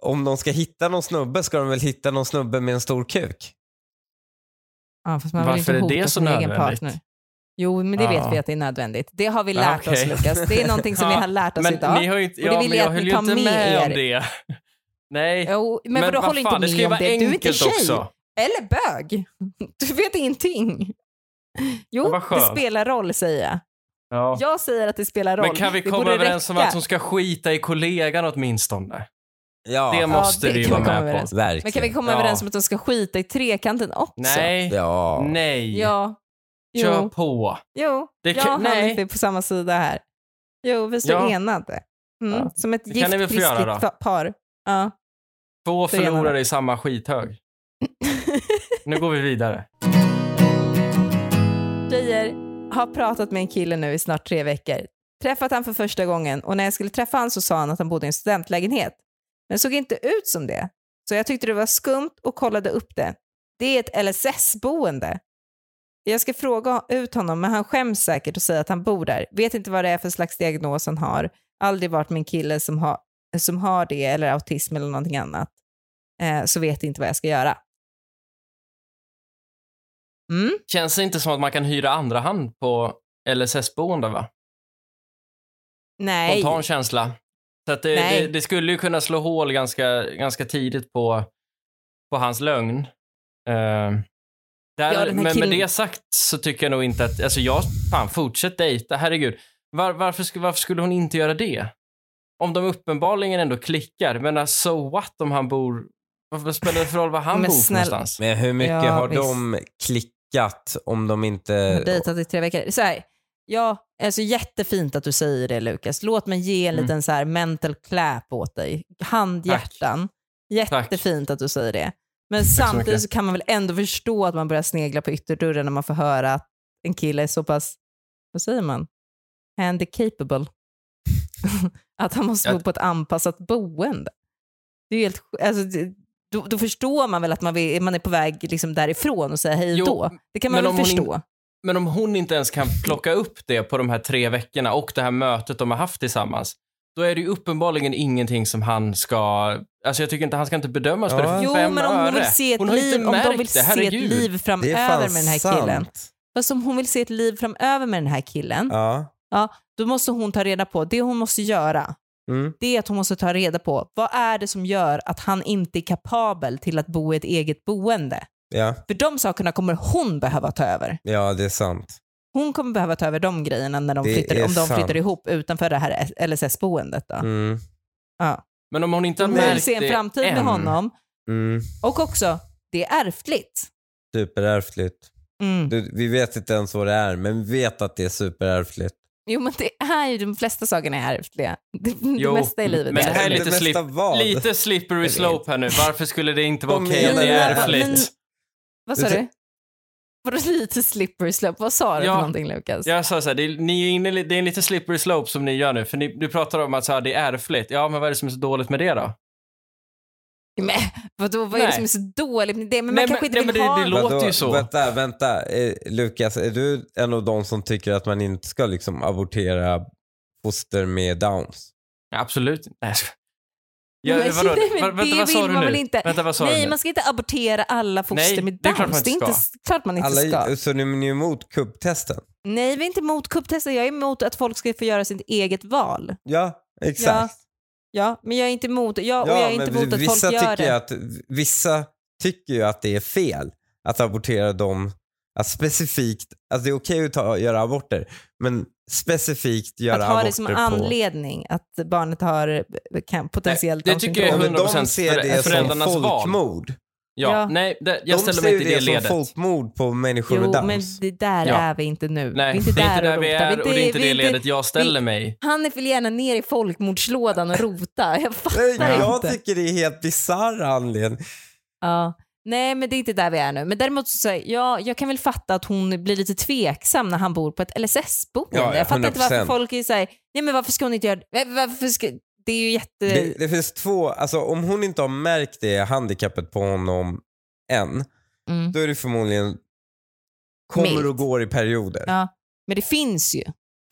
Speaker 3: om de ska hitta någon snubbe ska de väl hitta någon snubbe med en stor kuk?
Speaker 1: Ja, fast man
Speaker 2: Varför
Speaker 1: vill inte
Speaker 2: är
Speaker 1: hota
Speaker 2: det så
Speaker 1: sin egen
Speaker 2: nödvändigt?
Speaker 1: partner. Jo, men det
Speaker 2: Ja.
Speaker 1: vet vi att det är nödvändigt. Det har vi
Speaker 2: Ja,
Speaker 1: lärt
Speaker 2: okej.
Speaker 1: oss, Lukas. Det är någonting som vi
Speaker 2: <laughs> Ja,
Speaker 1: har lärt oss
Speaker 2: Men
Speaker 1: idag.
Speaker 2: ni har ju inte,
Speaker 1: Och det
Speaker 2: ja,
Speaker 1: vill
Speaker 2: men
Speaker 1: jag att ni
Speaker 2: jag höll ju
Speaker 1: tar
Speaker 2: inte
Speaker 1: med
Speaker 2: med om
Speaker 1: er.
Speaker 2: det. <laughs> Nej.
Speaker 1: Jo, men, vadå,
Speaker 2: vad
Speaker 1: håller inte
Speaker 2: fan, det ska ju
Speaker 1: med om
Speaker 2: vara
Speaker 1: det? Du är inte
Speaker 2: enkelt
Speaker 1: tjej.
Speaker 2: också.
Speaker 1: Eller bög. <laughs> Du vet ingenting.
Speaker 2: Ja,
Speaker 1: Jo,
Speaker 2: vad
Speaker 1: det
Speaker 2: skönt.
Speaker 1: spelar roll säger jag.
Speaker 2: Ja.
Speaker 1: Jag säger att det spelar roll.
Speaker 2: Men kan vi
Speaker 1: Det
Speaker 2: komma
Speaker 1: borde
Speaker 2: överens om
Speaker 1: räcka.
Speaker 2: att hon ska skita i kollegan åtminstone?
Speaker 3: Ja,
Speaker 2: Det måste
Speaker 1: det
Speaker 2: vi
Speaker 1: kan
Speaker 2: vara
Speaker 1: vi komma
Speaker 2: med på.
Speaker 1: överens
Speaker 3: verkligen.
Speaker 1: Men kan vi komma
Speaker 2: Ja.
Speaker 1: överens om att de ska skita i trekanten också?
Speaker 2: Nej,
Speaker 3: Ja.
Speaker 2: nej,
Speaker 1: Ja. Jo.
Speaker 2: kör på.
Speaker 1: Jo,
Speaker 2: Det
Speaker 1: jag
Speaker 2: kan-
Speaker 1: och
Speaker 2: nej.
Speaker 1: Hanif är på samma sida här. Jo, vi står
Speaker 2: Ja.
Speaker 1: enade. Mm.
Speaker 2: Ja.
Speaker 1: Som ett
Speaker 2: Det kan
Speaker 1: gift
Speaker 2: ni väl få göra
Speaker 1: kristligt
Speaker 2: då?
Speaker 1: fa- par. Ja. <laughs>
Speaker 2: Två
Speaker 1: Så gärna.
Speaker 2: förlorare i samma skithög. Nu går vi vidare.
Speaker 1: Tjejer, har pratat med en kille nu i snart tre veckor. Träffat han för första gången och när jag skulle träffa han så sa han att han bodde i en studentlägenhet. Men såg inte ut som det. Så jag tyckte det var skumt och kollade upp det. Det är ett LSS-boende. Jag ska fråga ut honom men han skäms säkert och säger att han bor där. Vet inte vad det är för slags diagnos han har. Aldrig varit med en kille som har, som har det eller autism eller någonting annat. Eh, så vet inte vad jag ska göra. Mm.
Speaker 2: Känns det inte som att man kan hyra andra hand på LSS-boende va?
Speaker 1: Nej.
Speaker 2: Spontan känsla. Så att det,
Speaker 1: Nej.
Speaker 2: det, det skulle ju kunna slå hål ganska, ganska tidigt på, på hans lögn. Eh, där,
Speaker 1: Ja, den här
Speaker 2: men
Speaker 1: killen-
Speaker 2: med det sagt så tycker jag nog inte att, alltså jag, fan fortsätt dejta, herregud. Var, varför, sku- varför skulle hon inte göra det? Om de uppenbarligen ändå klickar, men so what om han bor, vad spelar det för roll var han
Speaker 1: Men
Speaker 2: bor
Speaker 1: snälla-
Speaker 2: någonstans?
Speaker 3: Men hur mycket
Speaker 1: Ja,
Speaker 3: har
Speaker 1: visst.
Speaker 3: de klickat om de
Speaker 1: har
Speaker 2: Eh,
Speaker 3: inte...
Speaker 1: dejtat i tre veckor. Så här, ja, alltså jättefint att du säger det Lukas. Låt mig ge en
Speaker 2: Mm.
Speaker 1: liten så här mental clap åt dig. Handhjärtan. Jättefint att du säger det. Men
Speaker 2: så
Speaker 1: samtidigt
Speaker 2: mycket.
Speaker 1: så kan man väl ändå förstå att man börjar snegla på ytterdörren när man får höra att en kille är så pass, vad säger man, handicapable. <laughs> att han måste
Speaker 2: Ja.
Speaker 1: bo på ett anpassat boende. Det är ju helt, sj- alltså, det, då, då förstår man väl att man, vill, man är på väg liksom därifrån och säger hej
Speaker 2: Jo,
Speaker 1: då. Det kan man
Speaker 2: men
Speaker 1: väl
Speaker 2: om hon in-
Speaker 1: förstå.
Speaker 2: Men om hon inte ens kan plocka upp det på de här tre veckorna och det här mötet de har haft tillsammans, då är det ju uppenbarligen ingenting som han ska... Alltså jag tycker inte han ska inte bedömas för det för
Speaker 1: Jo,
Speaker 2: fem
Speaker 1: men om hon
Speaker 2: öre.
Speaker 1: vill se ett
Speaker 2: Hon har ju
Speaker 1: liv,
Speaker 2: inte
Speaker 1: om de
Speaker 2: märkt
Speaker 1: vill
Speaker 2: det,
Speaker 1: se ett
Speaker 2: herregud.
Speaker 1: liv
Speaker 3: Det är fan
Speaker 1: framöver med den här
Speaker 3: sant.
Speaker 1: killen. Fast om hon vill se ett liv framöver med den här killen,
Speaker 3: Ja.
Speaker 1: då måste hon ta reda på, det hon måste göra,
Speaker 3: Mm.
Speaker 1: det är att hon måste ta reda på, vad är det som gör att han inte är kapabel till att bo i ett eget boende?
Speaker 3: Ja.
Speaker 1: För de sakerna kommer hon behöva ta över.
Speaker 3: ja, det är sant.
Speaker 1: Hon kommer behöva ta över de grejerna när de
Speaker 3: Det
Speaker 1: flyttar,
Speaker 3: är
Speaker 1: om de
Speaker 3: sant.
Speaker 1: flyttar ihop utanför det här LSS-boendet. Då.
Speaker 3: Mm.
Speaker 1: Ja.
Speaker 2: Men om hon inte har
Speaker 1: Hon vill
Speaker 2: märkt
Speaker 1: se en
Speaker 2: det
Speaker 1: framtid
Speaker 2: än,
Speaker 1: med honom.
Speaker 3: Mm.
Speaker 1: Och också, det är ärftligt.
Speaker 3: Superärftligt.
Speaker 1: Mm.
Speaker 3: Du, vi vet inte ens vad det är, men vi vet att det är superärftligt.
Speaker 1: Jo men det är ju de flesta sakerna är ärftliga. Det, det
Speaker 2: Jo,
Speaker 1: mesta i livet
Speaker 2: men
Speaker 1: är
Speaker 2: det här är
Speaker 1: ärftligt.
Speaker 2: lite
Speaker 3: mesta
Speaker 2: slip,
Speaker 3: vad?
Speaker 2: lite slippery
Speaker 3: vet.
Speaker 2: slope här nu. Varför skulle det inte vara
Speaker 3: Vad
Speaker 2: okej
Speaker 3: menar
Speaker 2: att det är
Speaker 1: du? Men-
Speaker 2: ärftligt?
Speaker 1: Vad sa du? Vadå lite slippery slope? Vad sa du
Speaker 2: Ja.
Speaker 1: för någonting Lukas?
Speaker 2: Jag sa så här, det är, ni är inne, li- det är en lite slippery slope som ni gör nu, för ni, du pratar om att så här, det är ärftligt. Ja, men vad är det som är så dåligt med det då?
Speaker 1: Men vadå, vad är det
Speaker 2: Nej.
Speaker 1: som är så dåligt med det? Men
Speaker 2: Nej,
Speaker 1: man kanske
Speaker 2: men- nej,
Speaker 1: inte vill
Speaker 2: men det-
Speaker 1: ha...
Speaker 2: det låter ju så.
Speaker 3: Vänta, vänta. Eh, Lukas, är du en av de som tycker att man inte ska liksom abortera foster med downs?
Speaker 2: Absolut inte. Nej, jag skojar. <laughs>
Speaker 1: <laughs>
Speaker 2: Ja,
Speaker 1: Men-
Speaker 2: vadå?
Speaker 1: nej, men
Speaker 2: Va- vänta,
Speaker 1: det
Speaker 2: vad sa
Speaker 1: vill
Speaker 2: du
Speaker 1: man
Speaker 2: nu?
Speaker 1: väl inte.
Speaker 2: Vänta, vad sa du
Speaker 1: Nej,
Speaker 2: nu?
Speaker 1: man ska inte abortera alla foster
Speaker 2: Nej,
Speaker 1: med
Speaker 2: det är klart man
Speaker 1: Downs. Det är
Speaker 2: inte
Speaker 1: inte klart man inte ska.
Speaker 3: Alla, så ni är ni emot kubbtesten?
Speaker 1: Nej, vi är inte emot kupptester. Jag är emot att folk ska få göra sitt eget val.
Speaker 3: Ja, exakt.
Speaker 1: Ja, men jag är inte emot, ja, och jag är inte
Speaker 3: men
Speaker 1: emot att
Speaker 3: vissa
Speaker 1: folk gör
Speaker 3: tycker ju
Speaker 1: det.
Speaker 3: Att, vissa tycker ju att det är fel att abortera dem, att specifikt, att det är okej att ta, göra aborter, men specifikt
Speaker 1: Att
Speaker 3: göra
Speaker 1: ha
Speaker 3: aborter
Speaker 1: det som
Speaker 3: på...
Speaker 1: anledning att barnet har eh, kan, potentiellt
Speaker 2: det
Speaker 1: Downs
Speaker 2: tycker
Speaker 1: syndrom.
Speaker 2: jag
Speaker 3: Ja,
Speaker 2: är
Speaker 3: men
Speaker 2: 100%
Speaker 3: de ser det som
Speaker 2: föräldrarnas val.
Speaker 3: folkmord.
Speaker 2: Ja,
Speaker 1: Ja.
Speaker 2: nej, det, jag
Speaker 3: de
Speaker 2: ställer
Speaker 3: ser
Speaker 2: mig
Speaker 3: ju
Speaker 2: inte i det,
Speaker 3: det
Speaker 2: ledet.
Speaker 3: som folkmord på människor
Speaker 1: Jo,
Speaker 3: med Downs.
Speaker 1: men det där
Speaker 2: Ja.
Speaker 1: är vi inte nu.
Speaker 2: Nej,
Speaker 1: vi är inte
Speaker 2: det är inte
Speaker 1: där
Speaker 2: där
Speaker 1: och
Speaker 2: vi
Speaker 1: rotar.
Speaker 2: är och det är inte
Speaker 1: vi
Speaker 2: det ledet jag ställer mig.
Speaker 1: Han är väl gärna ner i folkmordslådan och rota. Jag
Speaker 3: <laughs> Nej,
Speaker 1: fattar
Speaker 3: jag
Speaker 1: inte.
Speaker 3: tycker det är helt bisarr anledning.
Speaker 1: Ja. Nej, men det är inte där vi är nu. Men däremot så säger jag, jag kan väl fatta att hon blir lite tveksam när han bor på ett LSS-boende.
Speaker 3: Ja, ja,
Speaker 1: jag fattar inte varför
Speaker 3: 100%.
Speaker 1: folk är såhär, nej men varför ska hon inte göra det? Varför ska... Det är ju jätte...
Speaker 3: Det, det finns två, alltså om hon inte har märkt det handikappet på honom än,
Speaker 1: Mm.
Speaker 3: då är det förmodligen kommer
Speaker 1: Milt.
Speaker 3: och går i perioder.
Speaker 1: Ja. Men det finns ju.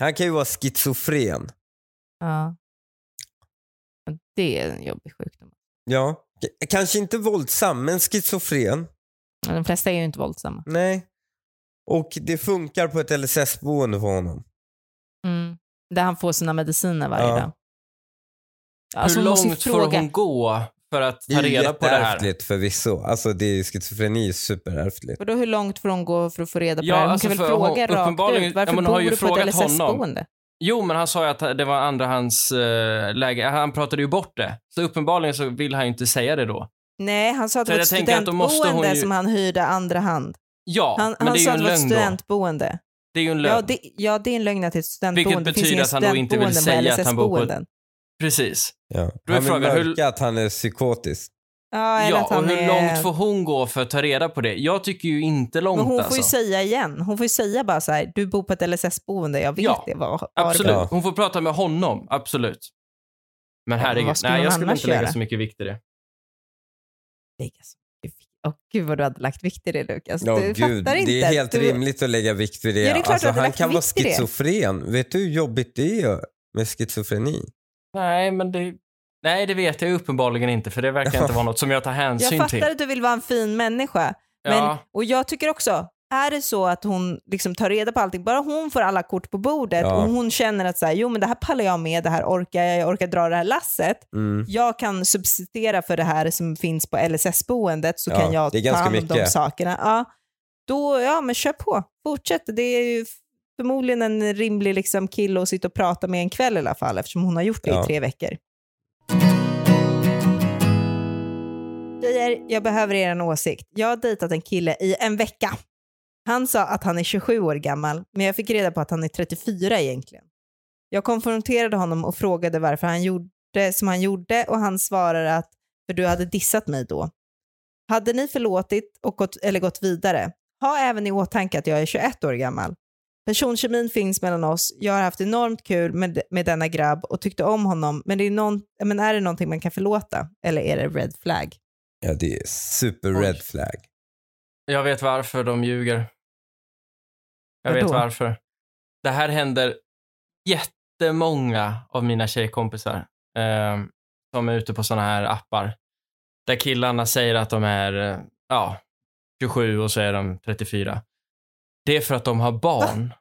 Speaker 3: Han kan ju vara schizofren.
Speaker 1: Ja. Och Det är en jobbig sjukdom.
Speaker 3: Ja. K- Kanske inte våldsam, men schizofren.
Speaker 1: Men De flesta är ju inte våldsamma.
Speaker 3: Nej. Och det funkar på ett LSS-boende för honom.
Speaker 1: Mm. Där han får sina mediciner varje
Speaker 3: Ja.
Speaker 1: dag. Alltså,
Speaker 2: Hur
Speaker 1: man måste ju
Speaker 2: långt får hon gå för att
Speaker 3: Det
Speaker 2: ta
Speaker 3: är ju
Speaker 2: reda på det här?
Speaker 3: jätteärftligt förvisso. Alltså det är, schizofreni är ju superärftligt.
Speaker 1: Vadå hur långt får hon gå för att få reda på
Speaker 2: Ja,
Speaker 1: det här? Hon
Speaker 2: alltså,
Speaker 1: kan väl
Speaker 2: för
Speaker 1: fråga
Speaker 2: hon-
Speaker 1: rakt
Speaker 2: uppenbarligen-
Speaker 1: ut.
Speaker 2: ja,
Speaker 1: Varför
Speaker 2: men
Speaker 1: bor
Speaker 2: hon har ju
Speaker 1: du på ett
Speaker 2: frågat honom.
Speaker 1: LSS-boende?
Speaker 2: Jo, men han sa ju att det var andra hans eh, läge. Han pratade ju bort det. Så uppenbarligen så vill han ju inte säga det då.
Speaker 1: Nej, han sa att det
Speaker 2: Så
Speaker 1: var ett
Speaker 2: jag tänker att då måste hon
Speaker 1: studentboende
Speaker 2: ju-
Speaker 1: som han hyrde andra hand.
Speaker 2: Ja,
Speaker 1: Han,
Speaker 2: men
Speaker 1: han
Speaker 2: det är ju
Speaker 1: sa att
Speaker 2: en
Speaker 1: det var ett
Speaker 2: lögn då.
Speaker 1: studentboende.
Speaker 2: Det är ju en lögn.
Speaker 1: Ja det, ja, det är en lögn att det är ett studentboende.
Speaker 2: Vilket
Speaker 1: Det finns
Speaker 2: betyder
Speaker 1: inga
Speaker 2: att han då inte vill
Speaker 1: studentboenden på
Speaker 2: säga att han bor på ett-
Speaker 1: LSS-boenden.
Speaker 2: Precis.
Speaker 3: Ja.
Speaker 2: Då är
Speaker 3: Han vill
Speaker 2: frågan, hur-
Speaker 3: mörka att han är psykotisk.
Speaker 1: Ja, eller
Speaker 2: Ja,
Speaker 1: att
Speaker 2: och
Speaker 1: han
Speaker 2: hur
Speaker 1: är...
Speaker 2: långt får hon gå för att ta reda på det? Jag tycker ju inte långt
Speaker 1: Men hon
Speaker 2: alltså.
Speaker 1: får ju säga igen. Hon får ju säga bara så här, du bor på ett LSS-boende, jag vet
Speaker 2: Ja,
Speaker 1: det. Var, var
Speaker 2: Absolut.
Speaker 3: Ja.
Speaker 2: Hon får prata med honom, absolut. Men herregud,
Speaker 1: vad skulle
Speaker 2: nej,
Speaker 1: hon
Speaker 2: jag skulle
Speaker 1: annars
Speaker 2: inte lägga
Speaker 1: göra?
Speaker 2: så mycket vikt i det.
Speaker 1: Åh gud vad alltså, du hade lagt vikt i det Lukas.
Speaker 3: Ja,
Speaker 1: Alltså, du
Speaker 3: gud,
Speaker 1: fattar inte.
Speaker 3: det är helt
Speaker 1: du...
Speaker 3: rimligt att lägga vikt vid det.
Speaker 1: Ja, det är klart
Speaker 3: alltså,
Speaker 1: att du har
Speaker 3: han
Speaker 1: lagt
Speaker 3: kan vara
Speaker 1: vikt vid det.
Speaker 3: schizofren. Vet du hur jobbigt det är med schizofreni?
Speaker 2: Nej, men det... Nej, det vet jag ju uppenbarligen inte, för det <laughs> verkar inte vara något som jag tar
Speaker 1: Jag
Speaker 2: hänsyn till.
Speaker 1: fattar att du vill vara en fin människa. Men,
Speaker 2: Ja,
Speaker 1: Och jag tycker också, är det så att hon liksom tar reda på allting, bara hon får alla kort på bordet
Speaker 3: Ja.
Speaker 1: och hon känner att så här, jo men det här pallar jag med, det här orkar jag, jag orkar dra det här lasset.
Speaker 3: Mm.
Speaker 1: Jag kan substituera för det här som finns på LSS-boendet så
Speaker 3: Ja,
Speaker 1: kan jag
Speaker 3: det är
Speaker 1: ta
Speaker 3: ganska
Speaker 1: hand om de
Speaker 3: mycket.
Speaker 1: sakerna. Ja, då, ja men kör på, fortsätt. Det är ju förmodligen en rimlig liksom, kille att sitta och prata med en kväll i alla fall eftersom hon har gjort det
Speaker 3: Ja.
Speaker 1: i tre veckor. Tjejer, jag behöver er åsikt. Jag har dejtat en kille i en vecka. Han sa att han är 27 år gammal, men jag fick reda på att han är 34 egentligen. Jag konfronterade honom och frågade varför han gjorde som han gjorde och han svarade att för du hade dissat mig då. Hade ni förlåtit och gått, eller gått vidare? Ha även i åtanke att jag är 21 år gammal. Personkemin finns mellan oss. Jag har haft enormt kul med, med denna grabb och tyckte om honom, men, det är någon, men är det någonting man kan förlåta? Eller är det red flag?
Speaker 3: Ja, det är super
Speaker 1: Oj.
Speaker 3: red flag.
Speaker 2: jag vet varför de ljuger. Jag
Speaker 1: Vadå?
Speaker 2: vet varför. Det här händer jättemånga av mina tjejkompisar eh, som är ute på såna här appar. Där killarna säger att de är eh, ja, 27 och så är de 34. Det är för att de har barn.